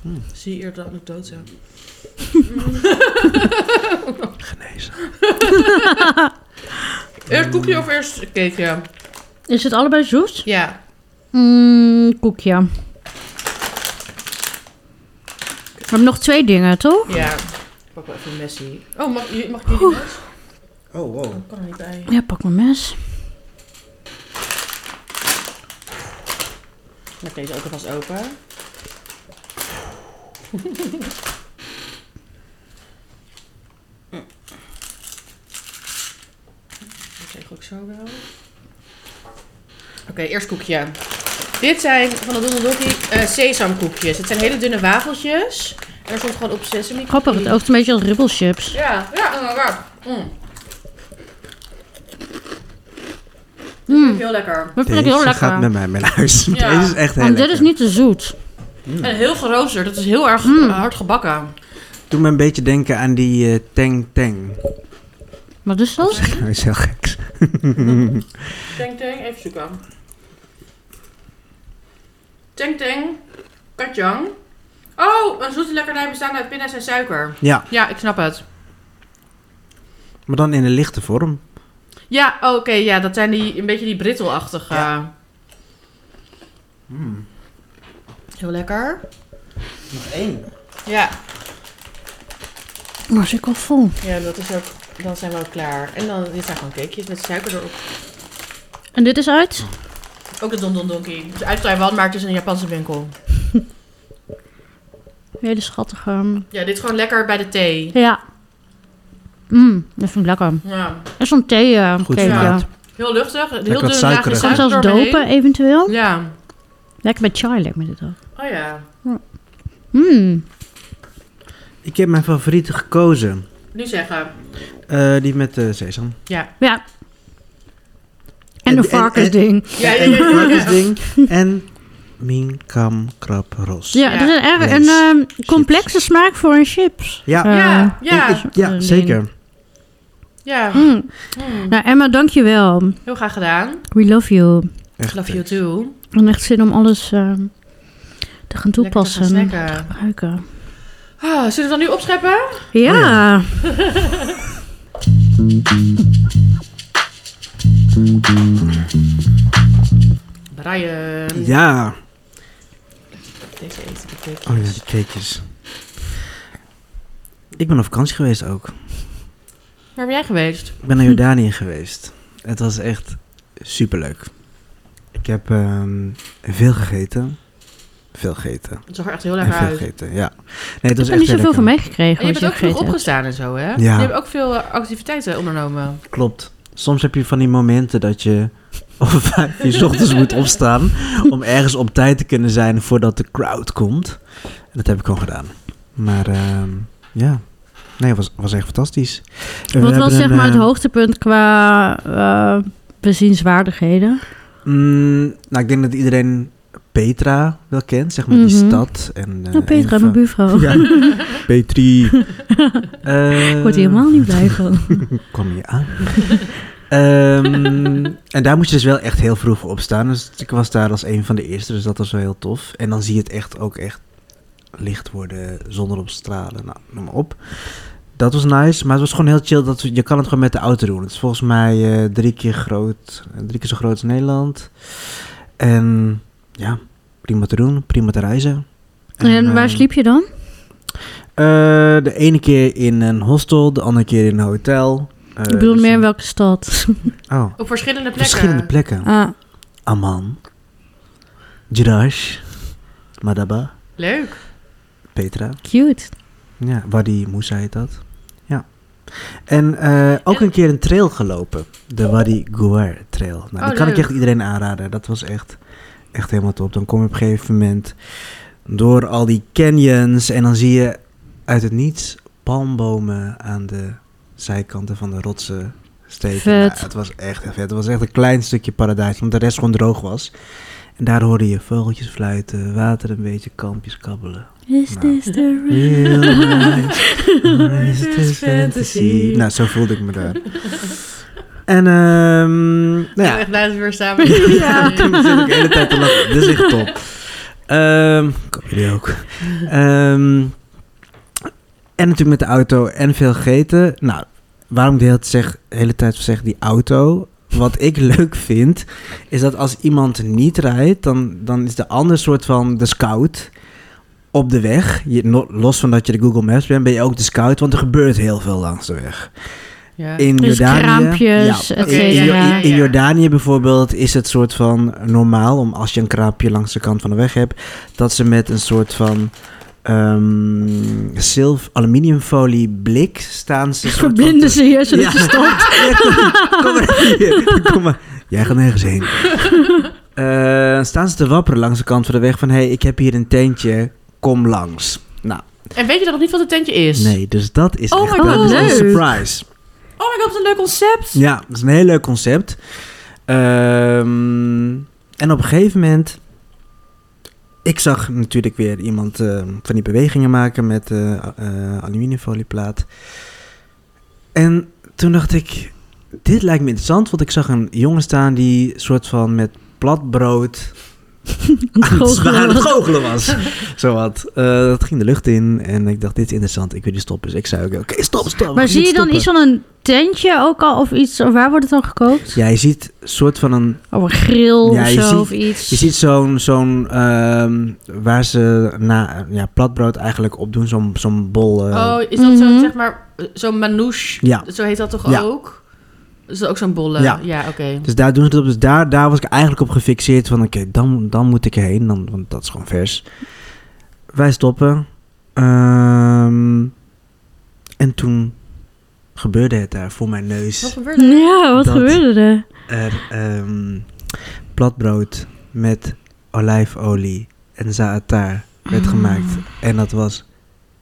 C: Hmm.
A: Zie je eerder dat ik dood ben.
C: Genezen.
A: Eerst koekje of eerst cakeje?
B: Is het allebei zoet?
A: Ja.
B: Mm, koekje. We hebben nog twee dingen, toch?
A: Ja. Ik pak wel even een messie. Oh, mag, mag ik jullie mes?
C: Oh, wow.
A: Ik kan er niet bij.
B: Ja, pak mijn mes.
A: Maak deze ook alvast open. Dat kreeg ik ook zo wel. Oké, eerst koekje. Dit zijn van de Donald Donkey eh, sesamkoekjes. Het zijn hele dunne wafeltjes. En er stond gewoon op sesame.
B: Grappig, het oogt een beetje als ribbelchips.
A: Ja, ja, inderdaad. Mm.
B: Mm,
A: Heel lekker.
B: dat vind
C: Deze
B: ik heel
C: gaat
B: lekker.
C: met mij mee naar huis.
A: Ja.
C: Deze is echt heel
B: Want dit
C: lekker.
B: is niet te zoet.
A: En heel geroosterd. Dat is heel erg
B: Mm.
A: eh, hard gebakken.
C: Doet me een beetje denken aan die eh, Tang Tang.
B: Wat is dat?
C: Dat is heel gek.
A: Teng Teng, even zoeken. Teng Teng, katjang. Oh, een zoete lekkernij bestaande uit pinda's en suiker.
C: Ja,
A: Ja, ik snap het.
C: maar dan in een lichte vorm.
A: Ja, oh, oké, ja, dat zijn die, een beetje die brittelachtige. Heel lekker.
C: Mm. Nog één.
A: Ja.
B: Maar zit ik al vol.
A: ja, dat is ook, dan zijn we ook klaar. En dan, dit zijn gewoon cakejes met suiker erop.
B: En dit is uit?
A: Ook de Don Don Donkey. Het is uit Taiwan, maar het is een Japanse winkel.
B: Hele schattige.
A: Ja, dit is gewoon lekker bij de thee.
B: Ja. Mmm, dat vind ik lekker.
A: Ja,
B: En zo'n thee uh,
C: Goed
B: cake,
A: smaakt.
B: ja.
A: heel luchtig. Heel
C: wat
A: dunne laagje
C: suikerig.
B: Kan
A: suiker
B: zelfs
A: doorheen.
B: dopen eventueel.
A: Ja.
B: Lekker met chai lijkt me dit ook.
A: Oh ja.
B: Mmm.
C: Ik heb mijn favoriete gekozen.
A: Nu zeggen.
C: Eh, die met de sesam.
A: Ja.
B: Ja. En
C: En-
B: de
C: en-
B: varkensding.
A: Ja, ja, ja. ja, ja.
C: Varkensding. En Minkam Krab Ros.
B: Ja,
A: Ja.
B: dat is erg een ehm, complexe smaak voor een chips.
C: Ja,
B: Eh,
A: Ja, ja,
C: ik- ik- ja
B: Ding.
C: zeker.
A: ja.
C: Ah.
B: Mm.
A: Hmm.
B: Nou, Emma, dankjewel.
A: Heel graag gedaan.
B: We love you.
C: Echt
A: Love you too.
B: En echt zin om alles ehm, te gaan
A: Lekker te gaan
B: toepassen. en
A: snacken.
B: gebruiken.
A: Ah, zullen we dan nu opscheppen?
B: Ja.
C: Oh
A: Brian.
C: eh, Ja.
A: Deze eten de cake.
C: Oh ja, die cakejes. Ik ben op vakantie geweest ook.
A: Waar ben jij geweest?
C: Ik ben naar Jordanië geweest. Het was echt superleuk. Ik heb ehm, veel gegeten. Veel gegeten.
A: Het zag er echt heel
C: En
A: lekker
C: veel
A: uit. En
C: gegeten, ja. Nee, het was
B: Ik heb er
C: echt
B: niet zoveel
C: lekker.
B: van meegekregen.
A: je
B: wat
A: bent ook
B: gegeten
A: vroeg
B: hebt.
A: opgestaan en zo, hè?
C: Ja.
A: Je hebt ook veel eh, activiteiten ondernomen.
C: Klopt. Soms heb je van die momenten dat je om vijf uur 's ochtends moet opstaan... om ergens op tijd te kunnen zijn voordat de crowd komt. En dat heb ik gewoon gedaan. Maar ehm, ja, nee, het was, was echt fantastisch. En we
B: Wat was
C: hebben
B: zeg
C: een,
B: maar het
C: ehm,
B: hoogtepunt qua eh, bezienswaardigheden?
C: Mm, nou, ik denk dat iedereen Petra wel kent, zeg maar, die
B: Mhm.
C: stad. En, eh,
B: Nou, Petra,
C: een
B: mijn
C: van-
B: buurvrouw.
C: Ja, Petri. Eh,
B: Ik word hier helemaal niet blij van.
C: Kwam je aan. Ehm, en daar moest je dus wel echt heel vroeg voor opstaan. Dus ik was daar als een van de eerste, dus dat was wel heel tof. En dan zie je het echt ook echt licht worden, zonder op stralen. Nou, noem maar op. Dat was nice, maar het was gewoon heel chill. Dat, we- je kan het gewoon met de auto doen. Het is volgens mij eh, drie, keer groot, eh, drie keer zo groot als Nederland. En ja, prima te doen, prima te reizen.
B: En waar
C: ehm,
B: sliep je dan?
C: eh, de ene keer in een hostel, de andere keer in een hotel. Eh,
B: ik bedoel
C: dus-
B: meer in welke stad.
C: Oh,
A: Op verschillende plekken.
C: verschillende plekken.
B: Ah,
C: Amman, Jirash, Madaba,
A: Leuk.
C: Petra.
B: cute.
C: Ja, Wadi Moussa heet dat. Ja. En eh, ook een keer een trail gelopen. De Wadi Gouar trail. Nou,
A: Oh,
C: die kan ik
A: leuk.
C: echt iedereen aanraden. Dat was echt, echt helemaal top. Dan kom je op een gegeven moment door al die canyons. En dan zie je uit het niets palmbomen aan de zijkanten van de rotsen steken.
B: Vet.
C: Nou, het was echt heel vet. Het was echt een klein stukje paradijs. Want de rest gewoon droog was. En daar hoorde je vogeltjes fluiten, water een beetje, kampjes kabbelen.
B: Is
C: Nou.
B: this the
C: Heel nice.
A: This
C: Nice
A: is fantasy.
C: Nou, zo voelde ik me daar. En ehm nou
A: Ik ben
C: ja,
A: echt blij dat we weer samen
C: ja. toen zit ik de hele tijd te lachen. Dit is echt top. Ehm ik hoop jullie ook. Ehm, en natuurlijk met de auto en veel gegeten. Nou, waarom ik de hele, zeg, de hele tijd zeg die auto... Wat ik leuk vind, is dat als iemand niet rijdt, dan, dan is de ander soort van de scout op de weg. Je, no- los van dat je de Google Maps bent, ben je ook de scout, want er gebeurt heel veel langs de weg.
A: Ja.
C: In
B: Dus
C: Jordanië,
B: kraampjes,
C: ja,
B: et
C: in- in-
A: cetera.
C: in, in Jordanië bijvoorbeeld is het soort van normaal, om als je een kraampje langs de kant van de weg hebt, dat ze met een soort van ehm zilf, aluminiumfolie blik staan. Ze een soort van
B: Verblinden
C: te-
B: ze je zodat
C: Ja.
B: je stopt?
C: Ja, kom, kom maar hier. Kom maar. Jij gaat nergens heen. Eh, staan ze te wapperen langs de kant van de weg van, hé, hey, ik heb hier een tentje, kom langs. Nou,
A: En weet je dan nog niet wat het tentje is?
C: nee, dus dat is
A: Oh
C: echt
A: my
C: dat
B: God.
C: is een
B: Leuk.
C: surprise.
A: Oh my god, wat een leuk concept.
C: Ja, dat is een heel leuk concept. Ehm, en op een gegeven moment. Ik zag natuurlijk weer iemand eh, van die bewegingen maken met eh eh, aluminiumfolieplaat. En toen dacht ik, dit lijkt me interessant, want ik zag een jongen staan die soort van met plat brood aan het
B: Goochelen
C: zwa- aan het
B: was.
C: goochelen was. Zo wat. Eh, dat ging de lucht in en ik dacht, dit is interessant, ik wil die stoppen. Dus ik zei ook, oké, stop, stop. ik
B: Maar
C: moet
B: zie je dan
C: stoppen.
B: iets van een tentje ook al of iets? Of waar wordt het dan gekookt?
C: Ja, je ziet soort van Oh, een
B: Of een grill
C: Ja,
B: of
C: je
B: zo
C: ziet-
B: of iets?
C: Je ziet zo'n, zo'n ehm, waar ze na, ja, platbrood eigenlijk op doen, zo'n, zo'n bol. eh,
A: Oh, is dat
B: Mhm.
A: zo, zeg maar, eh, zo'n manouche?
C: Ja.
A: Zo heet dat toch
C: Ja.
A: ook? Is dat ook zo'n bolle?
C: Ja.
A: oké.
C: Dus daar doen ze het op. Dus daar, daar was ik eigenlijk op gefixeerd van, oké, dan, dan moet ik erheen, dan, want dat is gewoon vers. Wij stoppen. Ehm, en toen gebeurde het daar voor mijn
A: Wat
C: neus.
A: gebeurt er?
B: Ja, wat
C: Dat-
B: gebeurde er?
C: Er, ehm, platbrood met olijfolie en zaatar
B: Mm.
C: werd gemaakt. En dat was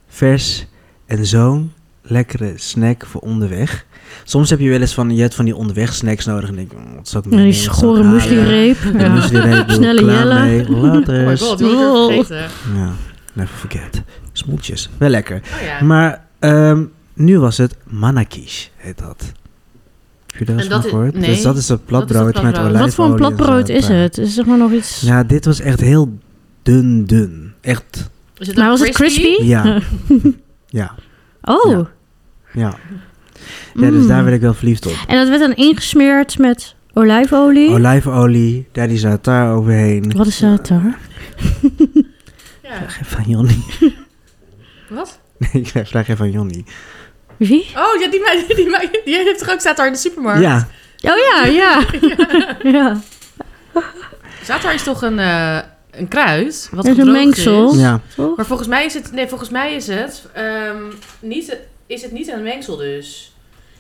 C: vers en zo'n lekkere snack voor onderweg. Soms heb je wel eens van, je hebt van die onderweg snacks nodig. En denk ik, mm, wat zou ik
B: Ja,
C: meenemen,
B: die
C: wat zou ik
B: schorre
C: halen?
B: muesli-reep.
C: De
B: Ja.
C: muesli-reep, bedoel,
B: Snelle
C: klaar
B: jelle.
C: mee,
A: Oh my
C: laters.
A: god, die had ik
B: Lol.
A: weer vergeten.
C: Ja, never forget. Smoeltjes, wel lekker.
A: Oh ja.
C: Maar ehm, nu was het manakish, heet dat. Heb je daar eens
A: En
C: van
A: dat i-
C: gehoord?
A: nee,
C: dus dat is dat platbrood met
A: platbrood.
C: olijfolie.
B: Wat voor een
C: en
B: platbrood is
C: zaatar.
B: het? Is het zeg maar nog iets...
C: eh. Ja, dit was echt heel dun, dun. Echt,
A: Is het
B: Maar
A: ook
B: was het crispy?
C: ja. ja,
B: Oh.
C: Ja. ja. Ja, dus
B: Mm.
C: daar werd ik Oh, wel verliefd op.
B: En dat werd dan ingesmeerd met olijfolie.
C: Olijfolie, daar die zaatar overheen.
B: Wat is dat daar?
A: Ja.
C: Vraag even aan Jonny.
A: Wat?
C: Nee, ik vraag even aan Jonny.
B: Wie?
A: Oh, ja, die, meid, die, meid, die heeft toch ook, staat daar in de supermarkt?
C: Ja,
B: Oh ja, ja. ja.
A: Staat daar is toch een, eh, een kruid? Wat
B: Dat is een
A: gedroogd
B: mengsel.
A: is.
C: ja.
B: Toch?
A: Maar volgens mij is het, nee, volgens mij is het, ehm, niet, is het niet een mengsel dus.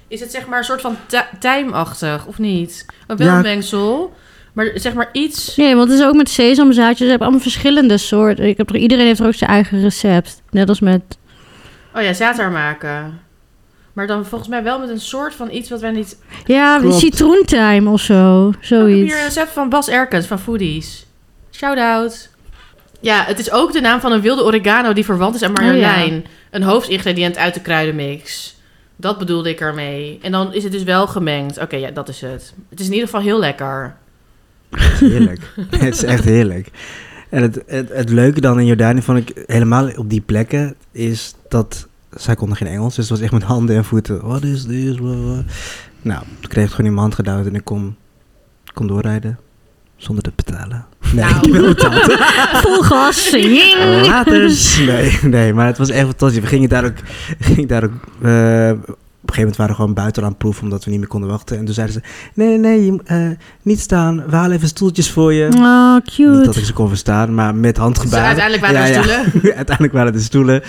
A: Is het zeg maar een soort van ti- tijmachtig, of niet? Wel
C: Ja.
A: een mengsel, maar zeg maar iets...
B: Nee, want het is ook met sesamzaadjes. Ze hebben allemaal verschillende soorten. Ik heb er, iedereen heeft er ook zijn eigen recept. Net als met...
A: Oh ja, zater maken. Maar dan volgens mij wel met een soort van iets wat wij niet...
B: Ja,
C: Klopt.
B: citroentijm of zo.
A: Oh, ik heb hier een
B: Zoiets.
A: recept van Bas Erkens van Foodies. Shout-out. Ja, het is ook de naam van een wilde oregano die verwant is
B: Oh,
A: aan marjolein. Een hoofdingrediënt uit de kruidenmix. Dat bedoelde ik ermee. En dan is het dus wel gemengd. Oké, ja, dat is het. Het is in ieder geval heel lekker.
C: Heerlijk. het is echt heerlijk. En het, het, het leuke dan in Jordanië vond ik helemaal op die plekken is dat zij konden geen Engels, dus het was echt met handen en voeten. Wat is dit? Blah, blah. Nou, toen kreeg ik het gewoon in mijn hand geduwd en ik kon, kon doorrijden zonder te betalen. Nee,
A: Nou.
C: ik heb wel betaald.
B: Vol gas. Jing.
C: Laters. Nee, nee, maar het was echt fantastisch. We gingen daar ook, gingen daar ook eh, op een gegeven moment waren we gewoon buiten aan proef omdat we niet meer konden wachten. En toen zeiden ze: Nee, nee, nee, je moet, eh, niet staan. We halen even stoeltjes voor je.
B: Oh,
C: Niet dat
B: cute.
C: ik ze kon verstaan, maar met
A: Dus
C: handgebaren.
A: uiteindelijk waren er
C: Ja, ja.
A: stoelen.
C: uiteindelijk waren het de stoelen.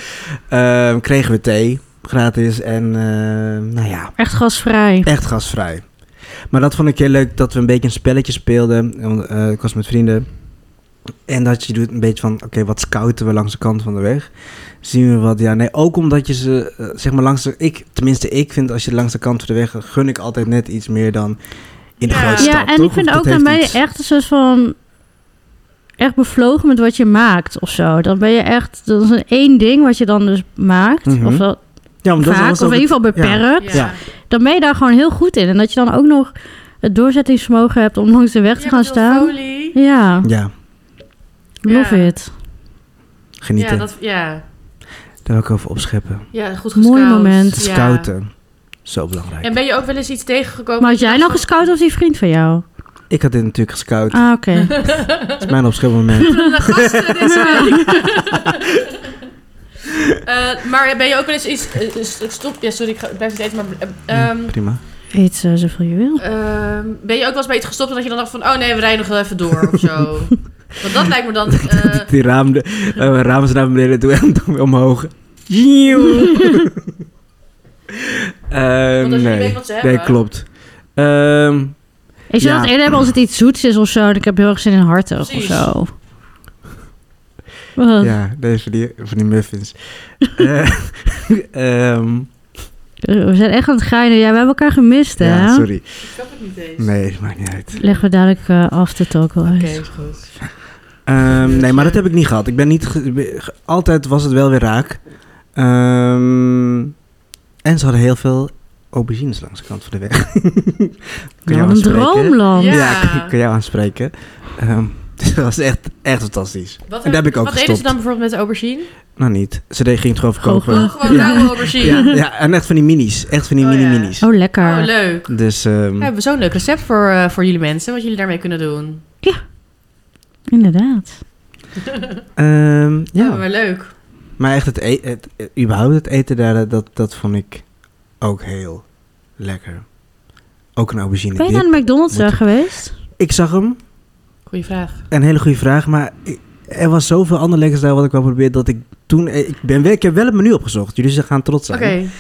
C: Ehm, kregen we thee gratis en eh, nou ja,
B: Echt gasvrij.
C: echt gasvrij. Maar dat vond ik heel leuk dat we een beetje een spelletje speelden. Want, eh, ik was met vrienden. En dat je doet een beetje van, oké, wat scouten we langs de kant van de weg? Zien we wat? Ja, nee, ook omdat je ze, eh, zeg maar, langs de... Ik, tenminste, ik vind als je langs de kant van de weg... gun ik altijd net iets meer dan in de
A: Ja.
C: grote stad,
B: Ja, en
C: toch?
B: ik vind
C: Want
B: ook
C: dat
B: dan ben
C: heeft
B: je
C: iets-
B: echt een soort van... Echt bevlogen met wat je maakt of zo. Dan ben je echt... Dat is een één ding wat je dan dus maakt.
C: Mhm.
B: Of dat
C: Ja, omdat
B: vaak.
C: anders
B: Of in
C: ook-
B: ieder geval beperkt.
C: Ja.
B: dan ben je daar gewoon heel goed in. En dat je dan ook nog het doorzettingsvermogen hebt om langs de weg te
A: Ja,
B: gaan
A: met
B: staan.
A: folie.
B: Ja,
C: Ja,
B: love
A: Ja.
B: it.
C: genieten.
A: Ja, dat, ja.
C: Daar wil ik over opscheppen.
A: ja, goed
B: Mooi
A: gescout.
B: moment.
A: Ja.
C: Scouten. Zo belangrijk.
A: En ben je ook wel eens iets tegengekomen?
B: Maar had jij nou gescout of die vriend van jou?
C: Ik had dit natuurlijk gescout.
B: Ah, oké.
C: Dat
A: Ah.
C: is mijn opschepmoment.
A: de gasten deze week. Eh, maar ben je ook wel eens iets... eh, eh, stop, ja, sorry, ik ga- ik blijf het eten, maar... eh, ehm,
C: Prima.
B: Eet eh, zoveel je wil.
A: ehm, ben je ook wel eens bij iets gestopt en dat je dan dacht van... Oh nee, we rijden nog wel even door of zo. Want dat lijkt me dan... eh,
C: Die raam, de, eh, raam is naar beneden toe en dan weer omhoog. Joe. Ehm,
A: Want als je niet
C: Eh, nee.
A: weet wat ze hebben.
C: nee, klopt. Ehm,
B: Ik zou
C: Ja.
B: het eerder hebben als het iets zoets is of zo. En ik heb heel erg zin in hartig of
A: Precies.
B: zo.
A: Oh.
B: eh, Wat?
C: ja, deze die, van die muffins. Eh, ehm,
B: Eh, We zijn echt aan het geinen. Ja, we hebben elkaar gemist, hè?
C: ja, sorry.
A: Ik snap het niet eens.
C: Nee, maakt niet uit.
B: Leggen we dadelijk eh, af de talk wel uit. Nou,
A: Oké, is goed.
C: Ehm, nee, maar dat heb ik niet gehad. Ik ben niet. ge- be- ge- altijd was het wel weer raak. Ehm, en ze hadden heel veel aubergines langs de kant van de weg.
B: Wel
C: jou
B: een
C: aanspreken?
B: droomland.
A: Ja.
C: Ja, ik kan jou aanspreken. Ehm, dat was echt, echt fantastisch.
A: Wat,
C: En daar heb ik ook
A: Wat deden ze
C: gestopt.
A: dan bijvoorbeeld met aubergine?
C: Nou niet. Ze deed- ging het gewoon verkopen.
A: Oh, gewoon
C: ja.
A: rauwe aubergine.
C: Ja, ja, en echt van die minis. Echt van die
A: Oh, ja.
C: mini-minis.
B: Oh, lekker.
A: Oh, leuk.
C: Dus
A: We
C: ehm,
A: hebben zo'n leuk recept voor, eh, voor jullie mensen. Wat jullie daarmee kunnen doen.
B: Inderdaad.
C: ehm,
A: Ja,
C: ja.
A: maar leuk.
C: Maar echt het, e- het, eh, überhaupt het eten daar, eh, dat, dat vond ik ook heel lekker. Ook een aubergine.
B: Ben je
C: Die
B: naar de McDonald's
C: Moet-
B: eh, geweest?
C: Ik zag hem.
A: Goeie vraag.
C: Een hele goede vraag. Maar ik- er was zoveel ander lekkers daar wat ik wel probeerde. Dat ik toen... eh, Ik, ben, wel- ik heb wel het menu opgezocht. Jullie gaan trots
A: Oké.
C: zijn.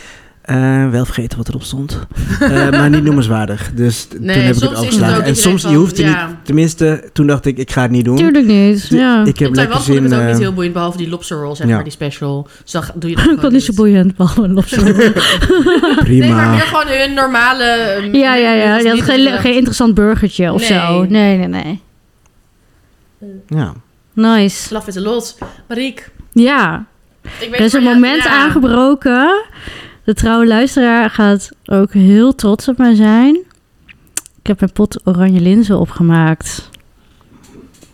C: Eh, wel vergeten wat erop stond. Eh, maar niet noemenswaardig. Dus t- toen heb ik het afgeslagen. en soms, je hoeft er niet... Tenminste, toen dacht ik, ik ga het niet doen.
B: Tuurlijk niet.
C: Tu-
B: Ja.
C: Ik
A: Ik
C: heb
A: heb
C: lekker
A: Taiwan vond ik
C: zin...
A: het ook niet
C: eh,
A: heel boeiend, behalve die lobster roll, zeg
C: ja.
A: maar, die special. Dus dan doe je dat
B: Ik
A: gewoon
B: vond niet zo boeiend, behalve een lobster.
A: Nee, maar
C: prima.
A: meer gewoon hun normale... eh,
B: ja, ja, ja.
A: niet-
B: Je had
A: niet-
B: geen,
A: eh,
B: geen interessant burgertje of
A: Nee.
B: zo. Nee, nee, nee.
C: Ja.
B: Nice.
A: Love is a lot. Mariek,
B: Ja,
A: ik weet
B: er is
A: waar
B: een
A: je-
B: moment
A: ja.
B: aangebroken. De trouwe luisteraar gaat ook heel trots op mij zijn. Ik heb mijn pot oranje linzen opgemaakt.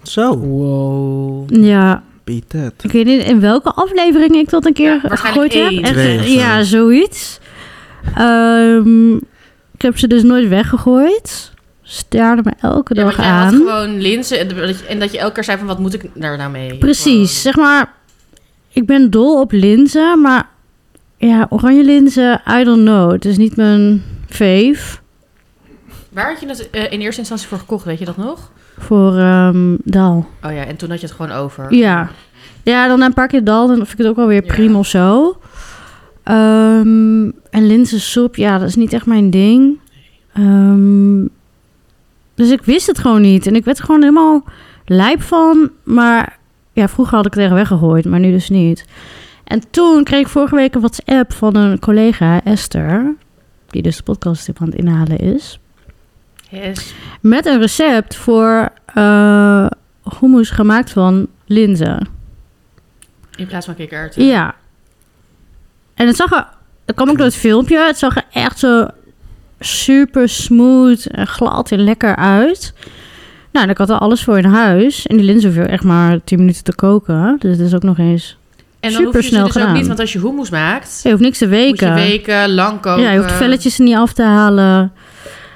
C: Zo.
A: Wow.
B: Ja,
C: Beat that.
B: ik weet niet in welke aflevering ik dat een keer
A: Ja, waarschijnlijk
B: gegooid heb.
A: één.
C: Twee of zo.
B: ja, zoiets. Ehm, ik heb ze dus nooit weggegooid. Staarde me elke
A: Ja,
B: dag
A: want jij had
B: aan.
A: gewoon linzen en dat je- en dat je elke keer zei van, wat moet ik daar nou mee?
B: Precies, zeg maar. Ik ben dol op linzen, maar Ja, oranje linzen, I don't know. Het is niet mijn fave.
A: Waar had je dat eh, in eerste instantie voor gekocht? Weet je dat nog?
B: Voor ehm, dal.
A: Oh ja, en toen had je het gewoon over.
B: Ja. Ja, dan na een paar keer dal, dan vind ik het ook wel weer
A: Ja.
B: prima of zo. Ehm, en linzensoep, ja, dat is niet echt mijn ding. Ehm, dus ik wist het gewoon niet. En ik werd er gewoon helemaal lijp van. Maar ja, vroeger had ik het echt weggegooid, maar nu dus niet. En toen kreeg ik vorige week een WhatsApp van een collega, Esther. Die dus de podcast aan het inhalen is.
A: Yes.
B: Met een recept voor eh hummus gemaakt van linzen.
A: In plaats van kikkererwten.
B: Ja. En het zag er... Het kwam ook door het filmpje. Het zag er echt zo super smooth en glad en lekker uit. Nou, en ik had er alles voor in huis. En die linzen hoef je echt maar 10 minuten te koken. Dus het is ook nog eens...
A: En dan hoef je ze
B: Supersnel
A: dus ook
B: gedaan.
A: niet, want als je hummus maakt,
B: Je hoeft niks te
A: moet je
B: weken.
A: weken lang koken.
B: Ja, je hoeft de velletjes er niet af te halen.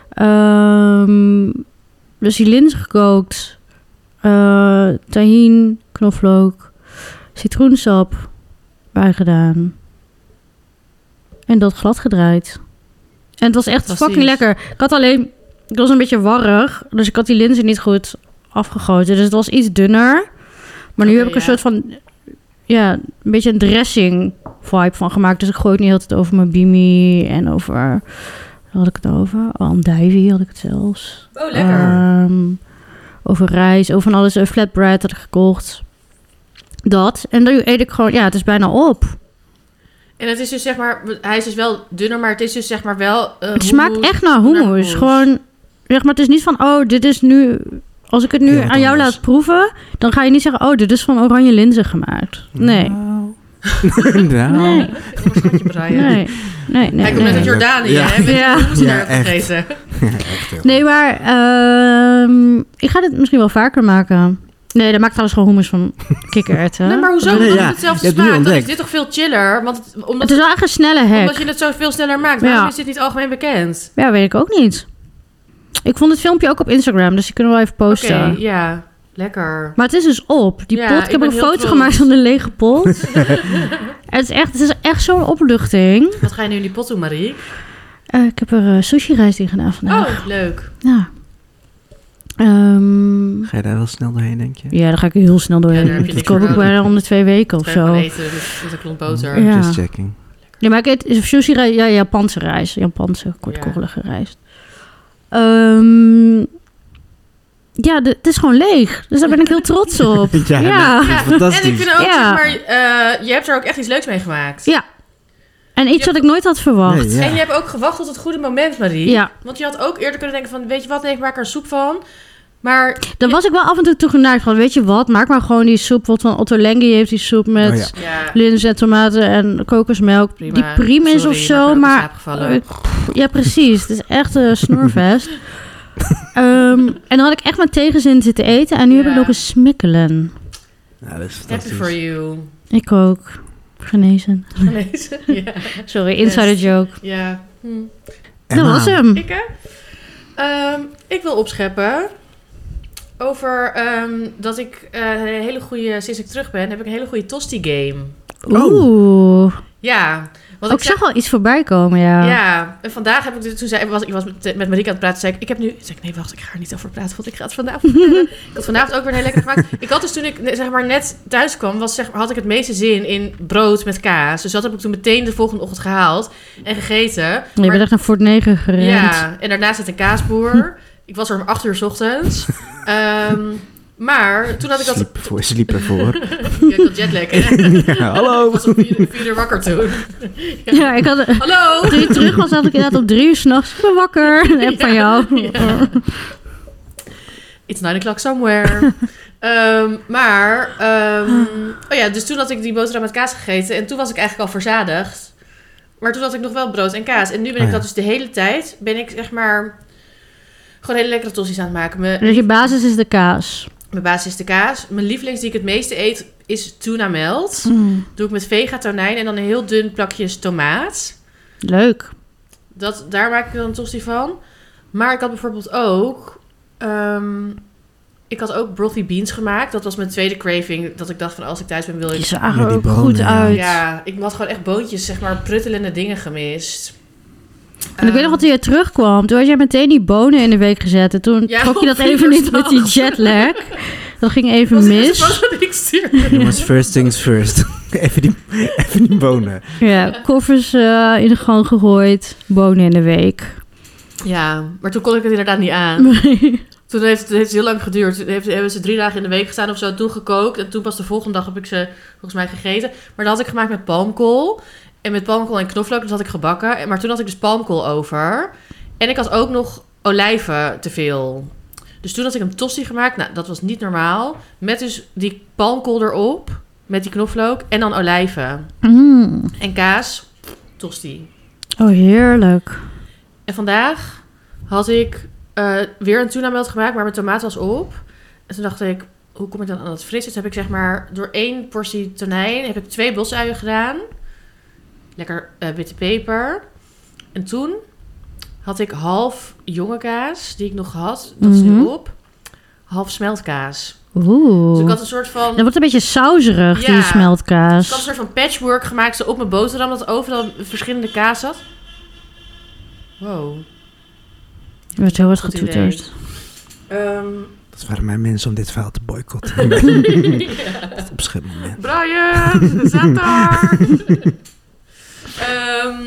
B: Ehm, dus die linzen gekookt. Eh tahin, knoflook, citroensap bij gedaan. En dat glad gedraaid. En het was echt
A: Fantastisch.
B: fucking lekker. Ik had alleen... Ik was een beetje warrig, dus ik had die linzen niet goed afgegoten. Dus het was iets dunner. Maar nu
A: Oké,
B: heb ik een
A: ja.
B: soort van... Ja, een beetje een dressing vibe van gemaakt. Dus ik gooi het niet altijd over mijn bimi en over... waar had ik het over? Oh, Andijvie had ik het zelfs.
A: Oh,
B: Ehm, over rijst, over van alles. Een flatbread had ik gekocht. Dat. En dan eet ik gewoon... Ja, het is bijna op.
A: en het is dus zeg maar, hij is dus wel dunner, maar het is dus zeg maar wel... eh,
B: Het smaakt
A: hummus.
B: echt naar
A: naar
B: hummus.
A: hummus.
B: Gewoon, zeg maar, het is niet van, oh, dit is nu... Als ik het nu
C: Heel wat
B: aan jou
C: anders.
B: laat proeven, dan ga je niet zeggen, oh, dit is van oranje linzen gemaakt. Nee.
C: Nou. Nou.
B: Nee,
A: Oh, wat gaat je
B: nee,
A: braaien?
B: nee, nee.
A: Hij komt net
B: nee.
A: uit Jordanië,
C: Ja.
A: hè? Met
B: Ja.
A: hummus
C: Ja,
A: daar
C: echt.
A: gegeten.
C: Echt heel
B: Nee, maar ehm, ik ga dit misschien wel vaker maken. Nee, dat maakt trouwens gewoon hummus van kikkererwten.
A: Nee, maar hoezo?
C: Nee,
A: Omdat
C: ja.
A: het hetzelfde
C: Je hebt het nu
A: smaakt. Dan is
C: ontdekt.
A: dit toch veel chiller? Want het- omdat,
B: Het is wel echt een snelle
A: omdat
B: hack.
A: je het zo veel sneller maakt. Waarom
B: Ja.
A: is dit niet algemeen bekend?
B: Ja, weet ik ook niet. Ik vond het filmpje ook op Instagram, dus die kunnen we wel even
A: Oké,
B: posten.
A: ja. Lekker.
B: Maar het is dus op. Die
A: Ja,
B: pot,
A: ik
B: ik heb
A: ben
B: een
A: heel
B: foto
A: trots.
B: gemaakt van de lege pot. het is echt, het is echt zo'n opluchting.
A: Wat ga je nu in die pot doen, Marie?
B: Eh, ik heb er eh, sushi-rijst in gedaan vandaag.
A: Oh, leuk.
B: Ja. Ehm,
C: Ga je daar wel snel doorheen, denk je?
B: ja, daar ga ik heel snel doorheen.
A: Ja, daar heb je
B: dat
A: niks
B: koop
A: voor
B: ik
A: nodig.
B: bijna om de twee weken of
A: Ik ga
B: zo.
A: eten met, met een klomp boter.
B: Ja.
C: Just checking.
B: Ja, maar ik eet sushi-rijst, ja, Japanse rijst. Japanse kortkorrelige rijst. Ehm, ja, de- het is gewoon leeg. Dus daar ben ik heel trots op.
C: Ja,
B: ja.
A: Ja,
C: Fantastisch.
A: En ik vind ook,
B: Ja.
A: zeg maar, eh, je hebt er ook echt iets leuks mee gemaakt.
B: Ja. En iets wat ik nooit had verwacht.
C: Nee, ja.
A: En je hebt ook gewacht tot het goede moment, Marie.
B: Ja.
A: Want je had ook eerder kunnen denken van, weet je wat, nee, ik maak er soep van. Maar
B: Dan was ik wel af en toe toegeneigd van, weet je wat, maak maar gewoon die soep. Wat van Otto Lengi heeft die soep met
C: Oh ja.
A: ja,
B: linzen en tomaten en kokosmelk.
A: prima.
B: Die prima is
A: Sorry,
B: of
A: maar ik
B: zo,
A: ben ook in
B: maar...
A: slaap gevallen. Oh,
B: ja, precies. Het is echt een snorvest. Ehm, en dan had ik echt met tegenzin zitten eten en nu heb ik
A: Ja.
B: lopen smikkelen.
C: Ja, dat is
A: Happy
C: fantastisch.
A: for you.
B: Ik ook. Genezen.
A: Gelezen? ja.
B: Sorry, insider
A: Best.
B: joke.
A: ja. Hm.
B: Dat
C: Emma,
B: was hem.
A: Ik, hè? Ehm, ik wil opscheppen over ehm, dat ik eh, een hele goede... Sinds ik terug ben, heb ik een hele goede tosti-game.
C: Oh.
B: Oeh.
A: Ja. Want
B: Ook ik zag al iets voorbij komen, ja.
A: Ja, en vandaag heb ik dus, toen zei, was, ik was met, met Marika aan het praten, zei ik, ik heb nu, zei ik, nee wacht, ik ga er niet over praten, want ik ga het vanavond vertellen. ik had vanavond ook weer een hele lekker gemaakt. Ik had dus toen ik ne- zeg maar net thuis kwam, was, zeg, maar, had ik het meeste zin in brood met kaas. Dus dat heb ik toen meteen de volgende ochtend gehaald en gegeten.
B: Je
A: Maar-
B: bent echt naar Fort 9 gerend.
A: ja, en daarna zat een kaasboer. ik was er om acht uur 's ochtends. Ehm, maar toen had ik dat,
C: Sliep ervoor. Sliep ervoor.
A: ja, ik had jetlag hè.
C: ja, hallo.
A: Ik was om vier, uur- vier uur wakker toen.
B: Ja, ik had,
A: Hallo!
B: Toen ik terug was, had ik inderdaad op drie uur s'nachts. Ik ben wakker. Een app van jou.
A: It's 9 o'clock somewhere. Ehm, maar, ehm,
C: Ah.
A: oh ja, dus toen had ik die boterham met kaas gegeten. En toen was ik eigenlijk al verzadigd. Maar toen had ik nog wel brood en kaas. En nu ben ik
C: Oh ja.
A: dat dus de hele tijd. Ben ik zeg maar gewoon hele lekkere tossies aan het maken. Mijn,
B: Dus je basis is de kaas.
A: mijn basis is de kaas. Mijn lievelings die ik het meeste eet is tuna
C: Hm.
A: melt. Doe ik met vega tonijn en dan een heel dun plakjes tomaat.
B: Leuk.
A: Dat, daar maak ik dan een tosti van. Maar ik had bijvoorbeeld ook... ehm, ik had ook brothy beans gemaakt. Dat was mijn tweede craving. Dat ik dacht van als ik thuis ben wil
B: Die
A: ik...
B: zagen
C: Met
B: er
C: die
B: ook
C: bonen,
B: goed
C: ja.
B: uit.
A: Ja, ik had gewoon echt boontjes, zeg maar, pruttelende dingen gemist. Ehm,
B: En ik weet nog dat toen je terugkwam, toen had jij meteen die bonen in de week gezet. En toen
A: Ja,
B: trok je dat
A: op
B: even niet met
A: vliegersdag.
B: die jetlag. Dat ging even
A: was de eerste
B: mis.
A: foto die ik stuurde.
C: Jongens, first things first. even, die, even die bonen.
B: Ja, koffers eh, in de gang gegooid, bonen in de week.
A: Ja, maar toen kon ik het inderdaad niet aan. Toen heeft het heeft het heel lang geduurd. Toen heeft, hebben ze drie dagen in de week gestaan of zo. Toen gekookt. En toen pas de volgende dag heb ik ze volgens mij gegeten. Maar dat had ik gemaakt met palmkool. En met palmkool en knoflook. dus Dat had ik gebakken. En- Maar toen had ik dus palmkool over. En ik had ook nog olijven te veel. Dus toen had ik een tosti gemaakt. Nou, dat was niet normaal. Met dus die palmkool erop. Met die knoflook. En dan olijven.
B: Mm.
A: En kaas. Tosti.
B: Oh, heerlijk.
A: En vandaag had ik eh, weer een tuna melt gemaakt, maar mijn tomaat was op. En toen dacht ik, hoe kom ik dan aan dat fris? Dus heb ik zeg maar door één portie tonijn heb ik twee bosuien gedaan. Lekker eh, witte peper. En toen had ik half jonge kaas, die ik nog had. Dat is
B: Mhm.
A: nu op. Half smeltkaas. Dus ik
B: Oeh.
A: had een soort van...
B: Dat wordt een beetje sauserig,
A: Ja. Ik
B: die
A: had een
B: smeltkaas.
A: soort van patchwork gemaakt zo op mijn boterham dat overal verschillende kaas zat. Wow.
B: Je wordt heel hard
A: Goed
B: getoeterd.
A: Ehm,
C: Dat waren mijn mensen om dit verhaal te boycotten. Dat is Op schip moment.
A: Brian, zat daar! Ehm,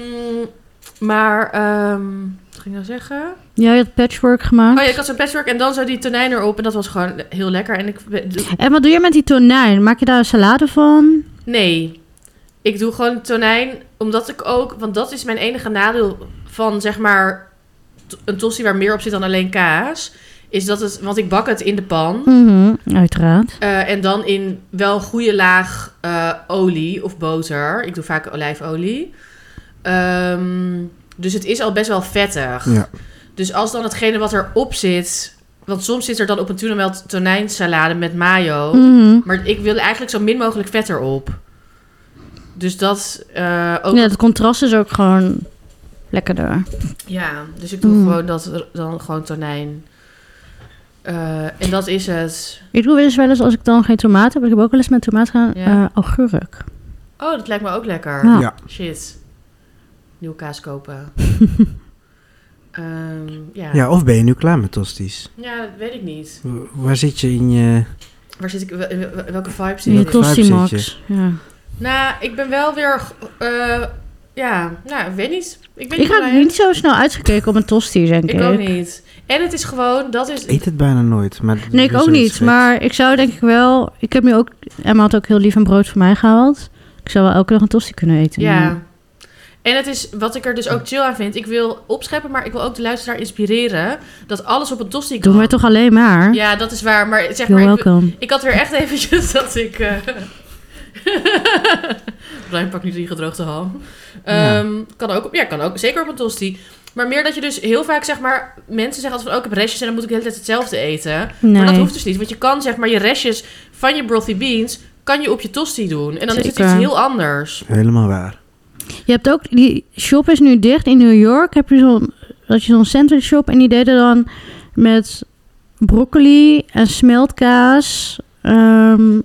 A: maar, ehm, wat ging ik nou zeggen?
B: Jij had patchwork gemaakt.
A: Oh ja, ik had zo'n patchwork en dan zo die tonijn erop. En dat was gewoon heel lekker. En ik, dus
B: En wat doe je met die tonijn? Maak je daar een salade van?
A: nee, ik doe gewoon tonijn. Omdat ik ook, want dat is mijn enige nadeel van zeg maar t- een tosti waar meer op zit dan alleen kaas. Is dat het, want ik bak het in de pan.
B: Mhm, uiteraard.
A: Eh, en dan in wel een goede laag eh, olie of boter. Ik doe vaak olijfolie. Ehm, dus het is al best wel vettig.
C: Ja.
A: Dus als dan hetgene wat erop zit... Want soms zit er dan op een tuna melt tonijnsalade met mayo.
B: Mhm.
A: Maar ik wil eigenlijk zo min mogelijk vet erop. Dus dat eh, ook...
B: Ja,
A: Ja.
B: het contrast is ook gewoon lekkerder.
A: dus ik doe
B: Mm.
A: gewoon dat dan gewoon tonijn. Eh, en dat is het.
B: Ik doe dus wel eens als ik dan geen tomaat heb. Ik heb ook wel eens met tomaat gaan
A: Ja.
B: eh, augurk. Nou,
A: Oh, dat lijkt me ook lekker.
B: Ja.
C: Ja.
A: Shit. Nieuw kaas kopen. Ehm, ja. ja.
C: ja, of ben je nu klaar met tosties?
A: dat weet ik niet.
C: W- Waar zit je in je...
A: Waar zit ik, wel- wel- welke vibe
B: In je
A: zit ik?
C: vibe
B: tosti
C: zit
B: max. Ja.
A: Nou, ik ben wel weer... eh, ja, nou, ik weet niet. Ik ben
B: Ik had
A: blij.
B: niet zo snel uitgekeken op een tosti, denk ik.
A: Ik ook niet. En het is gewoon, dat is...
C: Ik eet het bijna nooit. Maar
B: Nee, ik ook niet. Maar ik zou denk ik wel... Ik heb nu ook... Emma had ook heel lief een brood voor mij gehaald. Ik zou wel elke dag een tosti kunnen eten.
A: Ja. En het is wat ik er dus ook chill aan vind. Ik wil opscheppen, maar ik wil ook de luisteraar inspireren. Dat alles op een tosti kan.
B: Doen wij toch alleen maar?
A: Ja, dat is waar. Maar zeg
B: You're
A: maar, ik,
B: welcome.
A: Ik had weer echt eventjes dat ik... eh Brian pakt nu die gedroogde ham.
C: Ja.
A: Ehm, Kan ook, op- ja, kan ook. Zeker op een tosti. Maar meer dat je dus heel vaak, zeg maar... Mensen zeggen altijd van, oh, ik heb restjes en dan moet ik de hele tijd hetzelfde eten. Maar dat
B: Nee.
A: hoeft dus niet. Want je kan, zeg maar, je restjes van je brothy beans... kan je op je tosti doen. En dan is het
B: Zeker.
A: iets heel anders.
C: Helemaal waar.
B: Je hebt ook, die shop is nu dicht in New York. Heb je zo'n, dat je zo'n sandwich shop en die deden dan met broccoli en smeltkaas. ehm,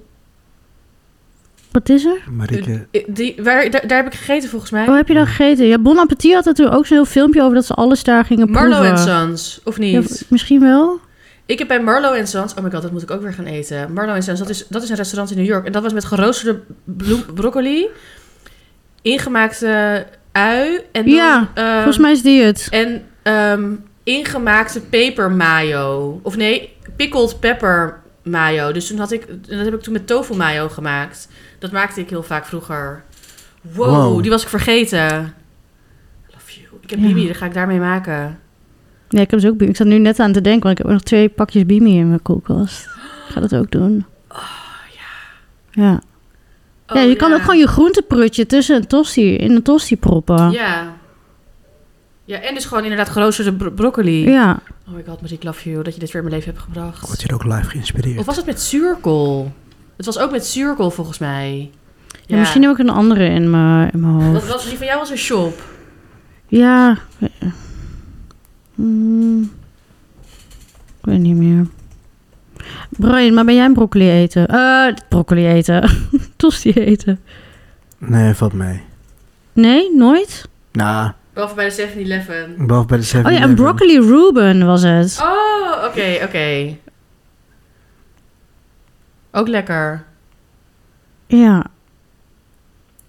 B: wat is er?
C: Marike,
A: Eh, Die, waar, daar, daar heb ik gegeten, volgens mij.
B: Oh, heb je dat gegeten? Ja, Bon Appetit had er toen ook zo'n heel filmpje over dat ze alles daar gingen
A: Marlo
B: proeven.
A: en Sons, of
B: Ja,
A: niet?
B: v- misschien wel.
A: Ik heb bij Marlo en Sons... Oh my god, dat moet ik ook weer gaan eten. Marlo en Sons, dat is, dat is een restaurant in New York. En dat was met geroosterde bloem, broccoli, ingemaakte ui en dan,
B: Ja,
A: ehm,
B: Volgens mij is die het.
A: En ehm, ingemaakte pepermayo. Of nee, pickled pepper mayo. Dus toen had ik... en Dat heb ik toen met tofu mayo gemaakt. Dat maakte ik heel vaak vroeger. Wow,
C: Wow.
A: die was ik vergeten. I love you. Ik heb
B: Ja.
A: Bibi, dat ga ik daarmee maken.
B: Nee, ik heb ze ook. bi- Ik zat nu net aan te denken, want ik heb ook nog twee pakjes Bimi in mijn koelkast. Ik ga dat ook doen. ja. Ja,
A: Oh,
B: je kan ook gewoon je groenteprutje tussen een tosti, in een tosti proppen.
A: Ja. Ja, en dus gewoon inderdaad geroosterde bro- broccoli.
B: Ja,
A: Oh my god, Marie, ik love you dat je dit weer in mijn leven hebt gebracht.
C: word je ook live geïnspireerd?
A: Of was het met zuurkool? Het was ook met zuurkool volgens mij.
B: Ja, misschien heb ik een andere in mijn, in mijn hoofd.
A: Dat was, die van jou was een shop.
B: Ja. Mm. Hmm. Ik weet niet meer. Brian, maar ben jij een broccoli eten? Eh, broccoli eten. Tosti eten.
C: Nee, valt mee.
B: Nee, nooit?
C: Nou,
A: Behalve bij de 7-Eleven.
C: behalve bij de 7
B: Oh ja, een broccoli Reuben was het.
A: Oh, oké, oké. Ook lekker. Oh.
B: Ja.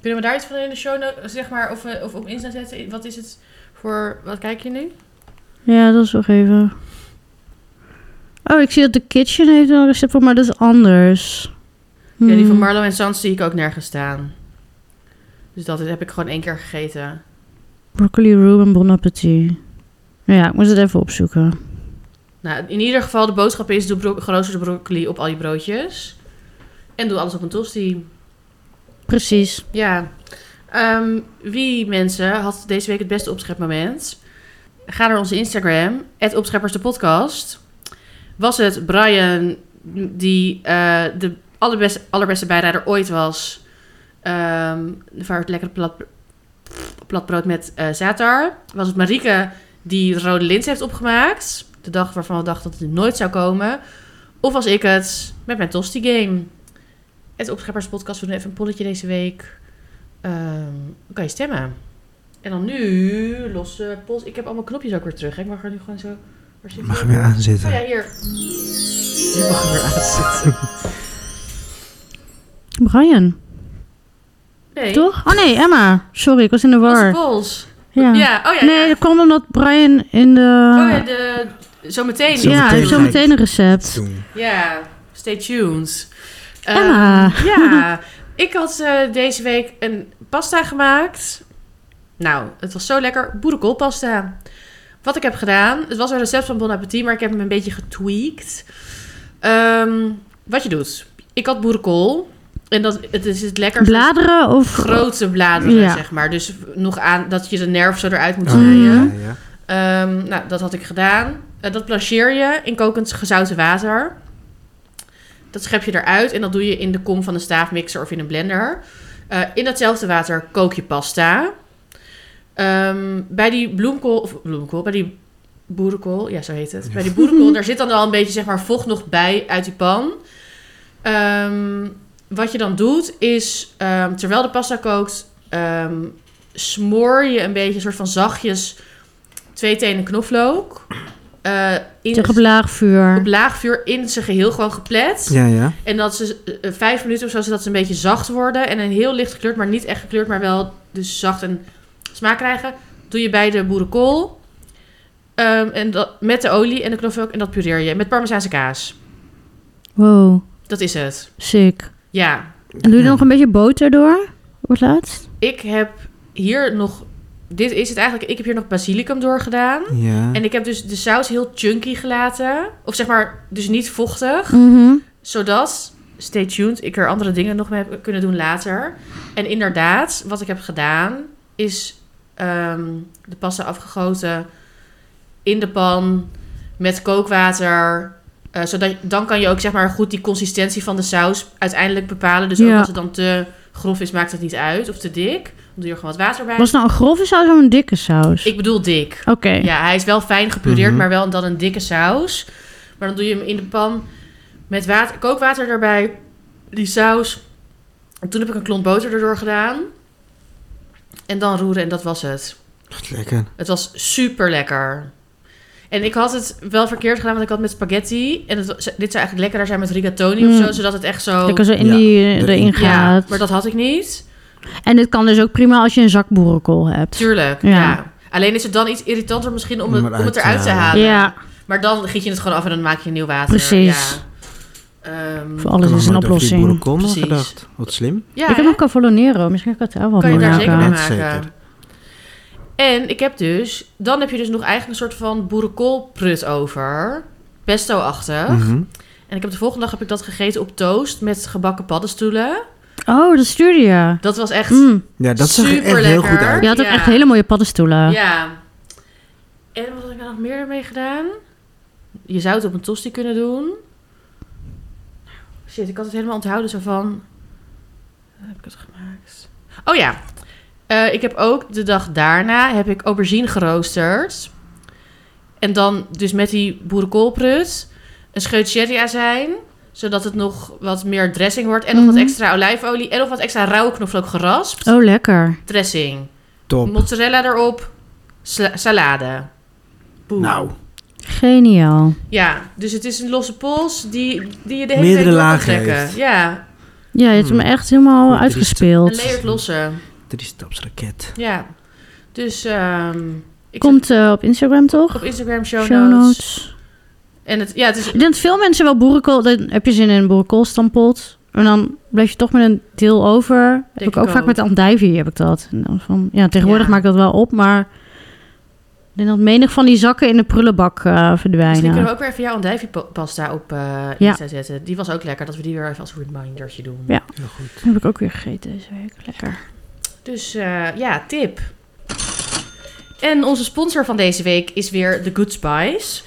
A: Kunnen we daar iets van in de show, no- zeg maar, of, eh, of op Insta zetten? Wat is het voor, wat kijk je nu?
B: Ja, dat is nog even. Oh, ik zie dat de kitchen heeft een recept voor, maar dat is anders.
A: Ja, die van
B: Hmm.
A: Marlo en Sans zie ik ook nergens staan. Dus dat heb ik gewoon één keer gegeten.
B: Broccoli Reuben Bon Appetit. Ja, ik moet het even opzoeken.
A: Nou, in ieder geval, de boodschap is, doe bro- geroosterde broccoli op al je broodjes. En doe alles op een tosti.
B: Precies.
A: Ja. Ehm, wie, mensen, had deze week het beste opschepmoment? Ga naar onze Instagram, het opscheppers de podcast. Was het Brian die eh, de allerbeste, allerbeste bijrijder ooit was? Ehm voor het lekkere plat, platbrood met eh, zatar. Was het Marieke die rode lint heeft opgemaakt? De dag waarvan we dachten dat het nooit zou komen. Of was ik het met mijn tosti game? Het Opscheppers Podcast. We doen even een polletje deze week. Ehm, dan kan je stemmen. En dan nu losse pols. Ik heb allemaal knopjes ook weer terug. hè. Ik mag er nu gewoon zo. Waar zit
C: Mag
A: die?
C: hem weer
A: Oh ja,
C: aanzitten.
A: hier. Nu mag er weer aan zitten.
B: Brian,
A: Nee.
B: toch? Oh nee, Emma. Sorry, ik was in de
A: Losse
B: war.
A: pols.
B: Ja.
A: Ja. oh ja.
B: Nee,
A: ja.
B: dat komt omdat Brian in de...
A: Oh ja, de, zometeen.
C: Zo
B: ja, hij heeft
C: meteen
B: zo
C: ga ik-
B: meteen een recept.
C: Doen.
A: Ja, stay tuned. Eh,
B: Emma.
A: ja, ik had eh, deze week een pasta gemaakt. Nou, het was zo lekker. Boerenkoolpasta. Wat ik heb gedaan, het was een recept van Bon Appetit, maar ik heb hem een beetje getweakt. Ehm, wat je doet. Ik had boerenkool. En dat, het is het lekker
B: Bladeren of...
A: grote bladeren,
B: Ja.
A: zeg maar. Dus nog aan dat je de nerf zo eruit moet
C: Oh,
A: snijden.
C: ja, ja, ja.
A: Ehm, nou, dat had ik gedaan. Eh, dat plancheer je in kokend gezouten water. Dat schep je eruit en dat doe je in de kom van een staafmixer of in een blender. Eh, in datzelfde water kook je pasta. Ehm, bij die bloemkool, of bloemkool, bij die boerenkool, ja zo heet het. Bij die boerenkool, daar zit dan al een beetje zeg maar, vocht nog bij uit die pan. Ehm, wat je dan doet is, ehm, terwijl de pasta kookt, ehm, smoor je een beetje, soort van zachtjes, twee tenen knoflook. eh, in
B: Tegen blaagvuur.
A: op laag vuur in zijn geheel gewoon geplet.
C: Ja, ja.
A: En dat ze eh, vijf minuten of zo, zodat ze een beetje zacht worden. En een heel licht gekleurd, maar niet echt gekleurd, maar wel dus zacht en smaak krijgen. Doe je bij de boerenkool. Ehm, en dat, met de olie en de knoflook. En dat pureer je met parmezaanse kaas.
B: Wow,
A: Dat is het.
B: sick.
A: Ja,
B: En doe je er nog een beetje boter door? Op het laatst?
A: ik heb hier nog... Dit is het eigenlijk. Ik heb hier nog basilicum door gedaan.
C: Ja.
A: En ik heb dus de saus heel chunky gelaten. Of zeg maar, dus niet vochtig.
B: Mhm.
A: Zodat, stay tuned, ik er andere dingen nog mee heb kunnen doen later. En inderdaad, wat ik heb gedaan, is ehm, de pasta afgegoten in de pan met kookwater. Eh, zodat, dan kan je ook zeg maar goed die consistentie van de saus uiteindelijk bepalen. Dus ook
B: Ja.
A: als het dan te grof is, maakt het niet uit. Of te dik. Dan doe je er gewoon wat water bij.
B: Was het nou een grove saus of een dikke saus?
A: Ik bedoel dik.
B: Oké.
A: Ja, hij is wel fijn gepureerd,
C: Mhm.
A: maar wel dan een dikke saus. Maar dan doe je hem in de pan met water, kookwater erbij, die saus. En toen heb ik een klont boter erdoor gedaan. En dan roeren en dat was het.
C: Wat lekker.
A: Het was super lekker. En ik had het wel verkeerd gedaan, want ik had met spaghetti. En het, was- dit zou eigenlijk lekkerder zijn met rigatoni of
B: Mm.
A: zo, zodat het echt zo...
B: Lekker zo in
C: Ja,
B: die,
C: erin.
B: erin
A: ja,
B: gaat.
A: maar dat had ik niet.
B: En dit kan dus ook prima als je een zak boerenkool hebt.
A: Tuurlijk, ja.
B: Ja.
A: Alleen is het dan iets irritanter misschien om,
C: Om
A: het,
C: eruit
A: om het
C: te
A: eruit te halen.
C: halen.
B: Ja.
A: Maar dan giet je het gewoon af en dan maak je nieuw water.
B: Precies.
A: Ja. Ehm,
B: Voor alles
C: Ik had
B: is een
C: nog nooit over die
B: oplossing.
C: boerenkool nog
A: Precies.
C: gedacht. Wat slim.
A: ja,
B: ik heb
A: hè?
B: nog Cavolonero. Misschien kan ik het daar wel
A: kan je
B: mee
A: daar
B: maken.
A: zeker mee
C: Ja,
A: maken.
C: zeker.
A: En ik heb dus... Dan heb je dus nog eigenlijk een soort van boerenkoolprut over. Pesto-achtig.
C: Mhm.
A: En ik heb de volgende dag heb ik dat gegeten op toast met gebakken paddenstoelen.
B: Oh, dat stuurde je.
A: Dat was echt...
B: Mm.
C: Ja, dat zag er echt
A: Superlekker.
C: heel goed uit.
B: Je had ook
A: Ja.
B: echt hele mooie paddenstoelen.
A: Ja. En wat heb ik er nog meer ermee gedaan? Je zou het op een tosti kunnen doen. Shit, ik had het helemaal onthouden zo van... Waar heb ik het gemaakt? Oh ja. Eh, ik heb ook de dag daarna heb ik aubergine geroosterd. En dan dus met die boerenkoolprut. Een scheut sherry azijn. Zodat het nog wat meer dressing wordt. En nog
B: Mhm.
A: wat extra olijfolie. En nog wat extra rauwe knoflook geraspt.
B: Oh, lekker.
A: Dressing.
C: Top.
A: Mozzarella erop. Sla- salade. Boem.
C: Nou,
B: Geniaal.
A: Ja, dus het is een losse pols die, die je de hele
C: Meerdere
A: week door kan
C: lagen
A: trekken.
C: heeft.
A: Ja,
B: Ja, je hebt hem
C: Hmm.
B: echt helemaal
C: Goed,
A: een
B: uitgespeeld.
A: layered losse.
C: drie staps raket.
A: Ja. Dus ehm ik
B: Komt eh, op Instagram toch?
A: zet op Instagram show,
B: Show
A: notes.
B: notes.
A: En het, ja, het is
B: Ik denk dat veel mensen wel boerenkool... Dan heb je zin in een boerenkoolstampot. En dan blijf je toch met een deel over. heb
A: Denk
B: ik ook
A: ik
B: vaak
A: ook.
B: met andijvie heb ik dat. En dan van, ja, tegenwoordig
A: Ja.
B: maak ik dat wel op, maar... Ik denk dat menig van die zakken in de prullenbak eh,
A: Misschien kunnen
B: verdwijnen.
A: we ook weer even jouw andijviepasta op eh
B: Ja.
A: Insta zetten. Die was ook lekker, dat we die weer even als remindertje doen.
B: Ja.
C: Heel goed.
B: Dat heb ik ook weer gegeten deze week. Lekker.
A: Dus eh, ja, tip. En onze sponsor van deze week is weer The Good Spice.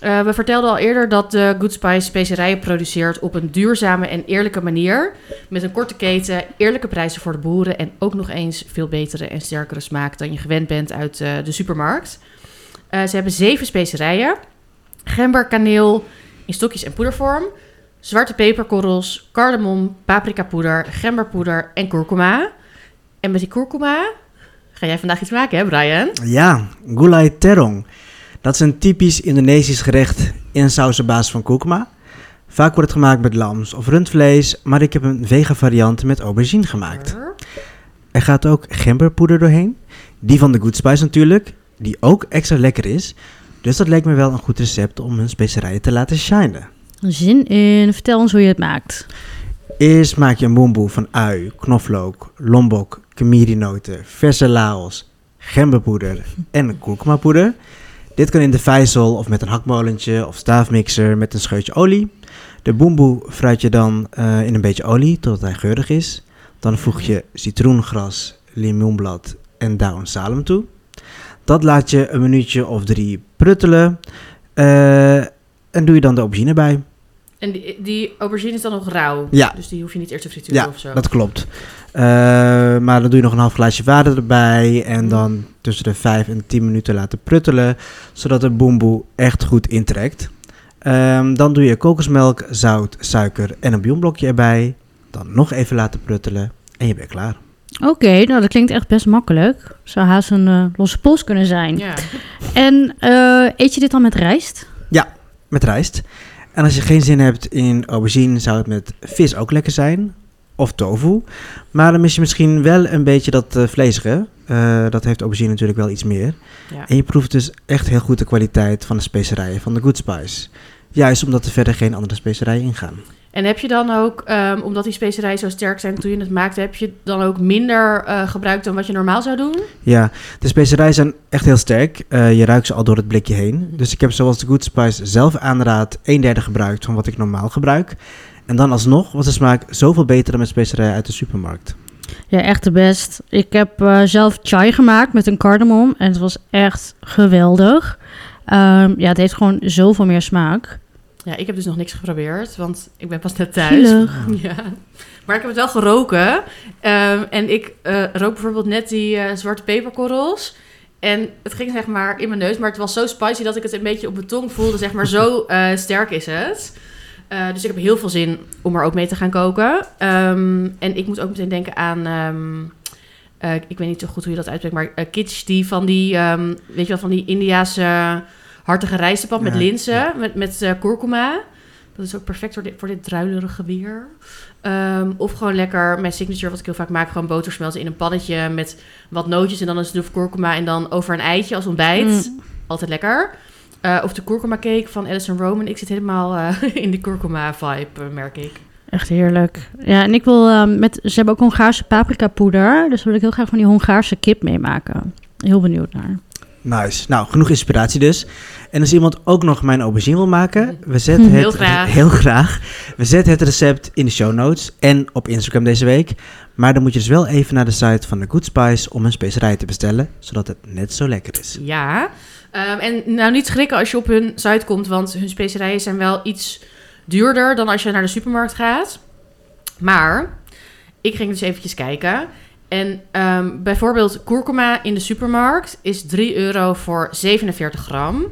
A: Eh, we vertelden al eerder dat de Good Spice specerijen produceert op een duurzame en eerlijke manier. Met een korte keten, eerlijke prijzen voor de boeren en ook nog eens veel betere en sterkere smaak dan je gewend bent uit eh, de supermarkt. Eh, ze hebben zeven specerijen. Gember, kaneel in stokjes en poedervorm. Zwarte peperkorrels, cardamom, paprikapoeder, gemberpoeder en kurkuma. En met die kurkuma ga jij vandaag iets maken, hè Brian?
C: Ja, gulai terong. Dat is een typisch Indonesisch gerecht in saus op basis van kurkuma. Vaak wordt het gemaakt met lams of rundvlees, maar ik heb een vegan variant met aubergine gemaakt. Er gaat ook gemberpoeder doorheen. Die van de Good Spice natuurlijk, die ook extra lekker is. Dus dat leek me wel een goed recept om hun specerijen te laten shinen.
B: Zin in. Vertel ons hoe je het maakt.
C: Eerst maak je een boemboe van ui, knoflook, lombok, kamirinoten, verse laos, gemberpoeder en kurkumapoeder. Dit kan in de vijzel of met een hakmolentje of staafmixer met een scheutje olie. De boemboe fruit je dan eh, in een beetje olie tot hij geurig is. Dan voeg je citroengras, limoenblad en down salem toe. Dat laat je een minuutje of drie pruttelen. eh, en doe je dan de aubergine bij.
A: En die, die aubergine is dan nog rauw.
C: Ja.
A: Dus die hoef je niet eerst te frituren
C: Ja,
A: of zo.
C: Dat klopt. Eh, maar dan doe je nog een half glaasje water erbij. En dan tussen de 5 en 10 minuten laten pruttelen. Zodat de boemboe echt goed intrekt. Ehm, dan doe je kokosmelk, zout, suiker en een bouillonblokje erbij. Dan nog even laten pruttelen. En je bent klaar.
B: Oké, nou dat klinkt echt best makkelijk. Zou haast een eh, losse pols kunnen zijn.
A: Ja.
B: En eh, eet je dit dan met rijst?
C: Met rijst. En als je geen zin hebt in aubergine, zou het met vis ook lekker zijn. Of tofu. Maar dan mis je misschien wel een beetje dat eh, vleesige. Eh, dat heeft aubergine natuurlijk wel iets meer.
A: ja.
C: En je proeft dus echt heel goed de kwaliteit van de specerijen van de Good Spice. Juist omdat er verder geen andere specerijen ingaan.
A: En heb je dan ook, ehm, omdat die specerijen zo sterk zijn toen je het maakte, heb je dan ook minder eh, gebruikt dan wat je normaal zou doen?
C: Ja, de specerijen zijn echt heel sterk. Eh, je ruikt ze al door het blikje heen. Dus ik heb zoals de Good Spice zelf aanraadt, een derde gebruikt van wat ik normaal gebruik. En dan alsnog was de smaak zoveel beter dan met specerijen uit de supermarkt.
B: Ja, echt de best. Ik heb eh, zelf chai gemaakt met een cardamom. En het was echt geweldig. Ehm, ja, het heeft gewoon zoveel meer smaak.
A: Ja, ik heb dus nog niks geprobeerd, want ik ben pas net thuis.
B: Zielig.
A: Ja. Maar ik heb het wel geroken. Ehm, en ik eh, rook bijvoorbeeld net die eh, zwarte peperkorrels. En het ging zeg maar in mijn neus, maar het was zo spicy dat ik het een beetje op mijn tong voelde. Zeg maar zo eh, sterk is het. Eh, dus ik heb heel veel zin om er ook mee te gaan koken. Ehm, en ik moet ook meteen denken aan... ehm, eh, ik weet niet zo goed hoe je dat uitspreekt, maar eh kitsch die van die... ehm, weet je wel, van die Indiaanse hartige rijstenpap met
C: Ja,
A: linzen,
C: ja.
A: met, met eh, kurkuma. Dat is ook perfect voor dit, voor dit druilerige weer. Ehm, of gewoon lekker mijn signature, wat ik heel vaak maak, gewoon boter smelten in een pannetje met wat nootjes en dan een snoef kurkuma en dan over een eitje als ontbijt.
B: Mm.
A: Altijd lekker. Eh, of de kurkuma cake van Alison Roman. Ik zit helemaal eh, in de kurkuma vibe, eh, merk ik.
B: Echt heerlijk. Ja, en ik wil ehm, met... Ze hebben ook Hongaarse paprika poeder. Dus daar wil ik heel graag van die Hongaarse kip meemaken. Heel benieuwd naar.
C: Nice. Nou, genoeg inspiratie dus. En als iemand ook nog mijn aubergine wil maken, we zetten het
A: Heel graag.
C: heel graag. We zetten het recept in de show notes en op Instagram deze week. Maar dan moet je dus wel even naar de site van de Good Spice om een specerij te bestellen, zodat het net zo lekker is.
A: Ja. Ehm, en nou niet schrikken als je op hun site komt, want hun specerijen zijn wel iets duurder dan als je naar de supermarkt gaat. Maar ik ging dus eventjes kijken. En ehm, bijvoorbeeld kurkuma in de supermarkt is 3 euro voor 47 gram.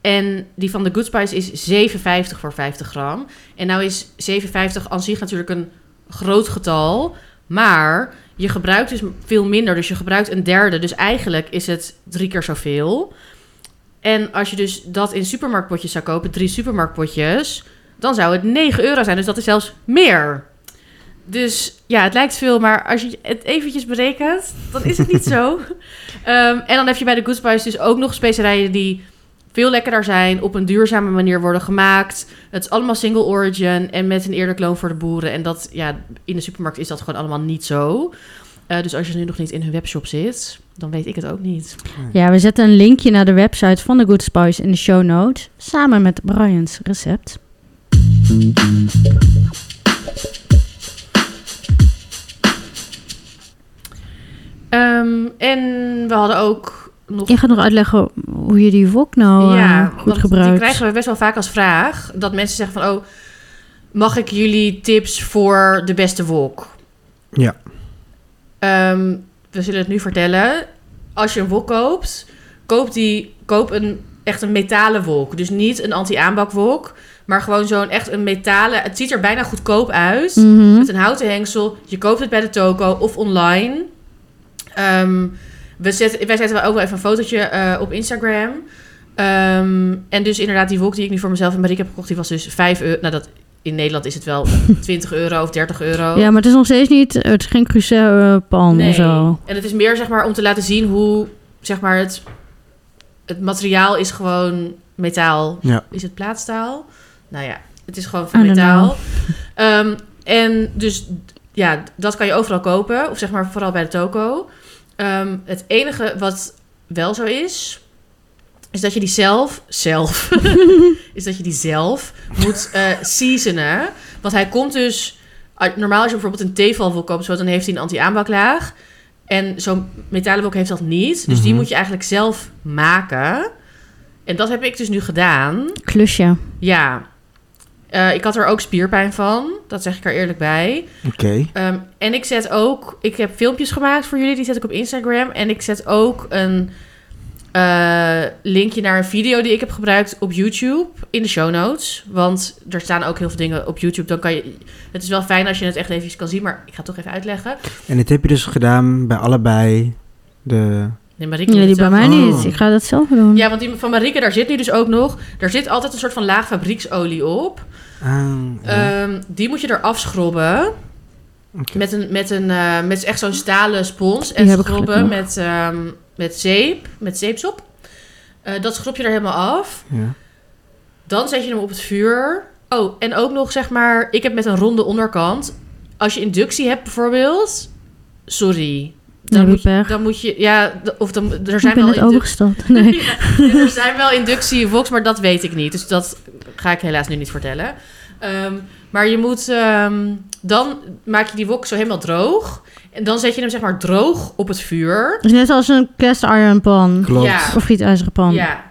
A: En die van de Good Spice is 7,50 voor 50 gram. En nou is 7,50 aan zich natuurlijk een groot getal. Maar je gebruikt dus veel minder. Dus je gebruikt een derde. Dus eigenlijk is het drie keer zoveel. En als je dus dat in supermarktpotjes zou kopen, drie supermarktpotjes, dan zou het 9 euro zijn. Dus dat is zelfs meer. Dus ja, het lijkt veel, maar als je het eventjes berekent, dan is het niet zo. Ehm, en dan heb je bij de Good Spice dus ook nog specerijen die veel lekkerder zijn, op een duurzame manier worden gemaakt. Het is allemaal single origin en met een eerlijk loon voor de boeren. En dat, ja, in de supermarkt is dat gewoon allemaal niet zo. Eh, dus als je nu nog niet in hun webshop zit, dan weet ik het ook niet.
B: Ja, we zetten een linkje naar de website van de Good Spice in de show notes. Samen met Brian's recept.
A: Ehm, en we hadden ook nog...
B: Je gaat nog uitleggen hoe je die wok nou eh, goed
A: want
B: gebruikt.
A: Die krijgen we best wel vaak als vraag. Dat mensen zeggen van, oh, mag ik jullie tips voor de beste wok?
C: Ja.
A: Ehm, we zullen het nu vertellen. Als je een wok koopt, koop, die, koop een, echt een metalen wok. Dus niet een anti-aanbakwok, maar gewoon zo'n echt een metalen... Het ziet er bijna goedkoop uit.
B: Mhm.
A: Met een houten hengsel. Je koopt het bij de toko of online. Ehm, we zetten, wij zetten wel ook wel even een fotootje eh, op Instagram. Ehm, en dus inderdaad, die wok die ik nu voor mezelf en Marieke heb gekocht, die was dus 5 euro. Nou, dat, in Nederland is het wel 20 euro of 30 euro.
B: Ja, maar het is nog steeds niet... Het is geen crucère pan
A: Nee.
B: of zo.
A: En het is meer zeg maar om te laten zien hoe zeg maar het, het materiaal is gewoon metaal.
C: Ja.
A: Is het plaatstaal? Nou ja, het is gewoon van
B: I don't
A: metaal. Ehm, en dus ja, dat kan je overal kopen. Of zeg maar vooral bij de toko. Ehm, het enige wat wel zo is, is dat je die zelf, zelf, is dat je die zelf moet eh, seasonen. Want hij komt dus, uit- normaal als je bijvoorbeeld een theeval wil kopen, zo, dan heeft hij een anti-aanbaklaag. En zo'n metalen wok heeft dat niet. Dus die
C: Mhm.
A: moet je eigenlijk zelf maken. En dat heb ik dus nu gedaan.
B: Klusje.
A: Ja. Eh, ik had er ook spierpijn van. Dat zeg ik er eerlijk bij.
C: Oké.
A: Ehm, en ik zet ook, ik heb filmpjes gemaakt voor jullie, die zet ik op Instagram. En ik zet ook een eh, linkje naar een video die ik heb gebruikt op YouTube in de show notes. Want er staan ook heel veel dingen op YouTube. Dan kan je, het is wel fijn als je het echt even kan zien, maar ik ga het toch even uitleggen.
C: En dit heb je dus gedaan bij allebei de...
A: Nee, Marieke
B: Nee,
A: doet
B: die
A: het
B: bij
A: zelf.
B: mij
C: Oh.
B: niet. Ik ga dat zelf doen.
A: Ja, want die van Marieke, daar zit nu dus ook nog, daar zit altijd een soort van laag fabrieksolie op.
C: Ah, ja.
A: Ehm, die moet je eraf schrobben.
C: Oké.
A: Met, een, met, een, eh, met echt zo'n stalen spons. En
B: Die heb ik
A: schrobben
B: gelukkig
A: met, ehm, met zeep. Met zeepsop. Eh, dat schrob je er helemaal af.
C: ja.
A: Dan zet je hem op het vuur. Oh, en ook nog zeg maar... Ik heb met een ronde onderkant. Als je inductie hebt bijvoorbeeld... Sorry.
B: Dan heb
A: moet
B: je
A: je,
B: pech.
A: dan moet je... Ja, d- of dan, er zijn
B: ik ben
A: wel
B: net overgestapt. Nee.
A: ja, er zijn wel inductie-vox, maar dat weet ik niet. Dus dat ga ik helaas nu niet vertellen. Ehm, maar je moet... ehm, dan maak je die wok zo helemaal droog. En dan zet je hem zeg maar droog op het vuur.
B: Het is net als een cast iron pan.
C: Klopt.
A: Ja.
B: Of gietijzeren pan.
A: Ja.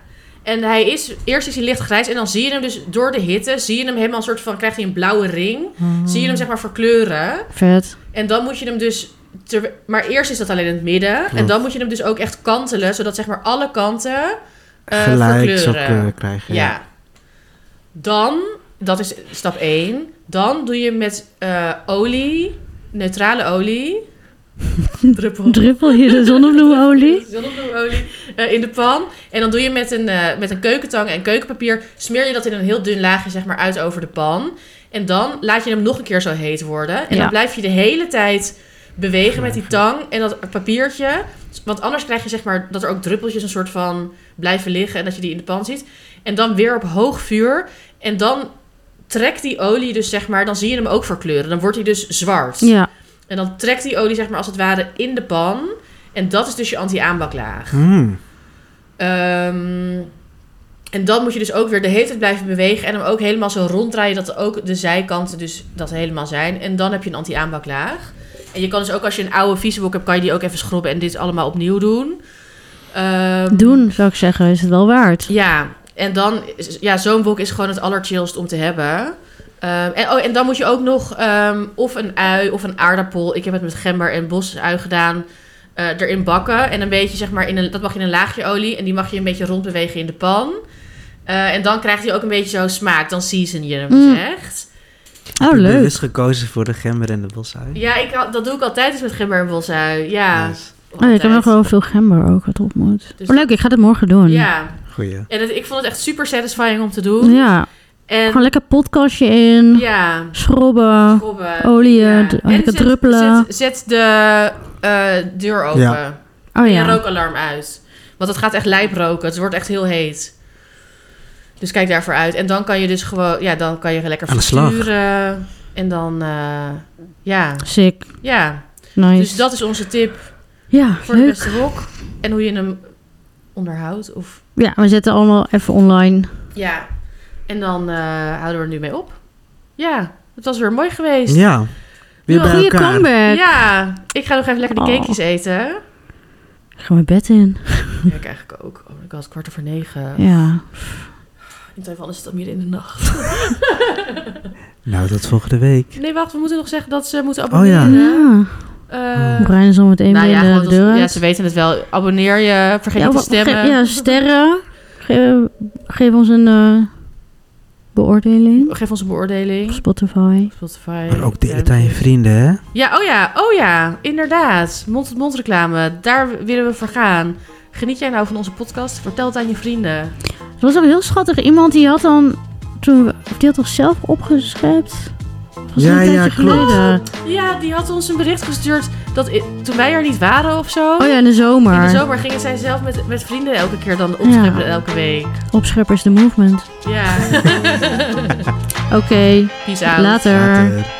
A: En hij is... Eerst is hij lichtgrijs. En dan zie je hem dus door de hitte... Zie je hem helemaal een soort van... Krijgt hij een blauwe ring.
C: Hmm.
A: Zie je hem zeg maar verkleuren.
B: Oh, Vet.
A: En dan moet je hem dus... ter- maar eerst is dat alleen in het midden. En dan moet je hem dus ook echt kantelen. Zodat zeg maar alle kanten eh,
C: Gelijk
A: verkleuren.
C: zou ik eh, krijgen.
A: Ja. Dan, dat is stap 1. Dan doe je met eh, olie, neutrale olie, druppel,
B: Druppel hier de zonnebloemolie.
A: zonnebloemolie eh, in de pan. En dan doe je met een, eh, met een keukentang en keukenpapier, smeer je dat in een heel dun laagje zeg maar uit over de pan. En dan laat je hem nog een keer zo heet worden. En
B: Ja.
A: dan blijf je de hele tijd bewegen met die tang en dat papiertje. Want anders krijg je zeg maar dat er ook druppeltjes een soort van blijven liggen en dat je die in de pan ziet. En dan weer op hoog vuur. En dan trekt die olie dus zeg maar, dan zie je hem ook verkleuren. Dan wordt hij dus zwart.
B: Ja.
A: En dan trekt die olie zeg maar als het ware in de pan. En dat is dus je anti-aanbaklaag.
C: Hmm.
A: Ehm, en dan moet je dus ook weer de hele tijd blijven bewegen. En hem ook helemaal zo ronddraaien dat ook de zijkanten dus dat helemaal zijn. En dan heb je een anti-aanbaklaag. En je kan dus ook als je een oude vieze wok hebt, kan je die ook even schrobben en dit allemaal opnieuw doen. Ehm,
B: Doen, zou ik zeggen. Is het wel waard.
A: ja, en dan, is- ja, zo'n wok is gewoon het allerchillst om te hebben. Ehm, en, oh, en dan moet je ook nog ehm, of een ui of een aardappel. Ik heb het met gember en bosui gedaan. eh, erin bakken. En een beetje, zeg maar, in een, dat mag je in een laagje olie. En die mag je een beetje rondbewegen in de pan. Ehm, Eh, en dan krijgt hij ook een beetje zo smaak. Dan season je hem
B: Mm.
A: dus echt.
B: Oh,
C: Ik heb
B: leuk.
C: bewust gekozen voor de gember en de bosuien.
A: Ja, ik, had- dat doe ik altijd eens met gember en bosuil. Ja.
C: Nice.
B: Oh, ik heb nog
A: altijd.
B: wel veel gember ook wat op moet.
A: Dus
B: oh, leuk, ik ga dit morgen doen.
A: Ja.
C: Goeie.
A: En het- ik vond het echt super satisfying om te doen.
B: Ja,
A: En
B: gewoon lekker podcastje in,
A: ja,
B: schrobben,
A: robben.
B: Oh, olie,
A: eh,
B: eh,
A: Ja.
B: d-
A: En
B: lekker
A: zet,
B: druppelen.
A: Zet, zet de eh, deur open.
C: Ja.
B: oh
A: En je
B: ja,
A: rookalarm uit. Want het gaat echt lijp roken. Het wordt echt heel heet. Dus kijk daarvoor uit. En dan kan je dus gewoon... Ja, dan kan je lekker
C: Aan de slag.
A: frituren. En dan... eh, ja.
B: sick,
A: Ja.
B: nice.
A: Dus dat is onze tip
B: ja,
A: voor de
B: leuk.
A: beste wok. En hoe je hem onderhoudt. Of,
B: Ja, we zetten allemaal even online.
A: ja. En dan eh, houden we er nu mee op. Ja. Het was weer mooi geweest. Ja.
C: Ja. Weer
A: Ja,
C: bij
B: Goeie
C: elkaar.
B: comeback.
A: Ik ga nog even lekker die
B: Oh.
A: cakejes eten.
B: Ik ga mijn bed in.
A: Ja, ik eigenlijk ook. Oh my god, kwart over negen.
B: Ja.
A: In Taiwan is het al midden in de nacht.
C: Nou, tot volgende week.
A: Nee, wacht, we moeten nog zeggen dat ze moeten
C: Oh, ja.
A: abonneren.
B: ja.
A: Eh,
B: Brian is al meteen
A: nou
B: weer
A: ja,
B: de
A: gewoon
B: eh, deur
A: dat- ja,
B: uit.
A: ze weten het wel. Abonneer je, vergeet
B: Ja,
A: niet
B: wa-
A: te stemmen.
B: ge- ja, sterren. Ge- geef ons een eh, beoordeling.
A: Geef ons een
B: Op
A: beoordeling.
B: Spotify.
A: Spotify.
C: Maar ook deel het
A: Apple.
C: aan je vrienden, hè?
A: Ja, oh ja, oh ja, inderdaad. Mond-tot-mond reclame, daar willen we voor gaan. Geniet jij nou van onze podcast? Vertel het aan je vrienden.
B: Er was ook heel schattig iemand die had dan... Toen we, of die had toch zelf opgeschept? Dat was
C: Ja,
B: een
C: ja,
B: tijdje
C: klopt.
B: geleden.
A: Ja, die had ons een bericht gestuurd dat i- toen wij er niet waren of zo.
B: Oh ja, in de zomer.
A: In de zomer gingen zij zelf met, met vrienden elke keer dan
B: Ja.
A: opscheppen elke week.
B: Opscheppers, de movement.
A: Ja,
B: Oké,
A: peace out.
B: later.
C: Later.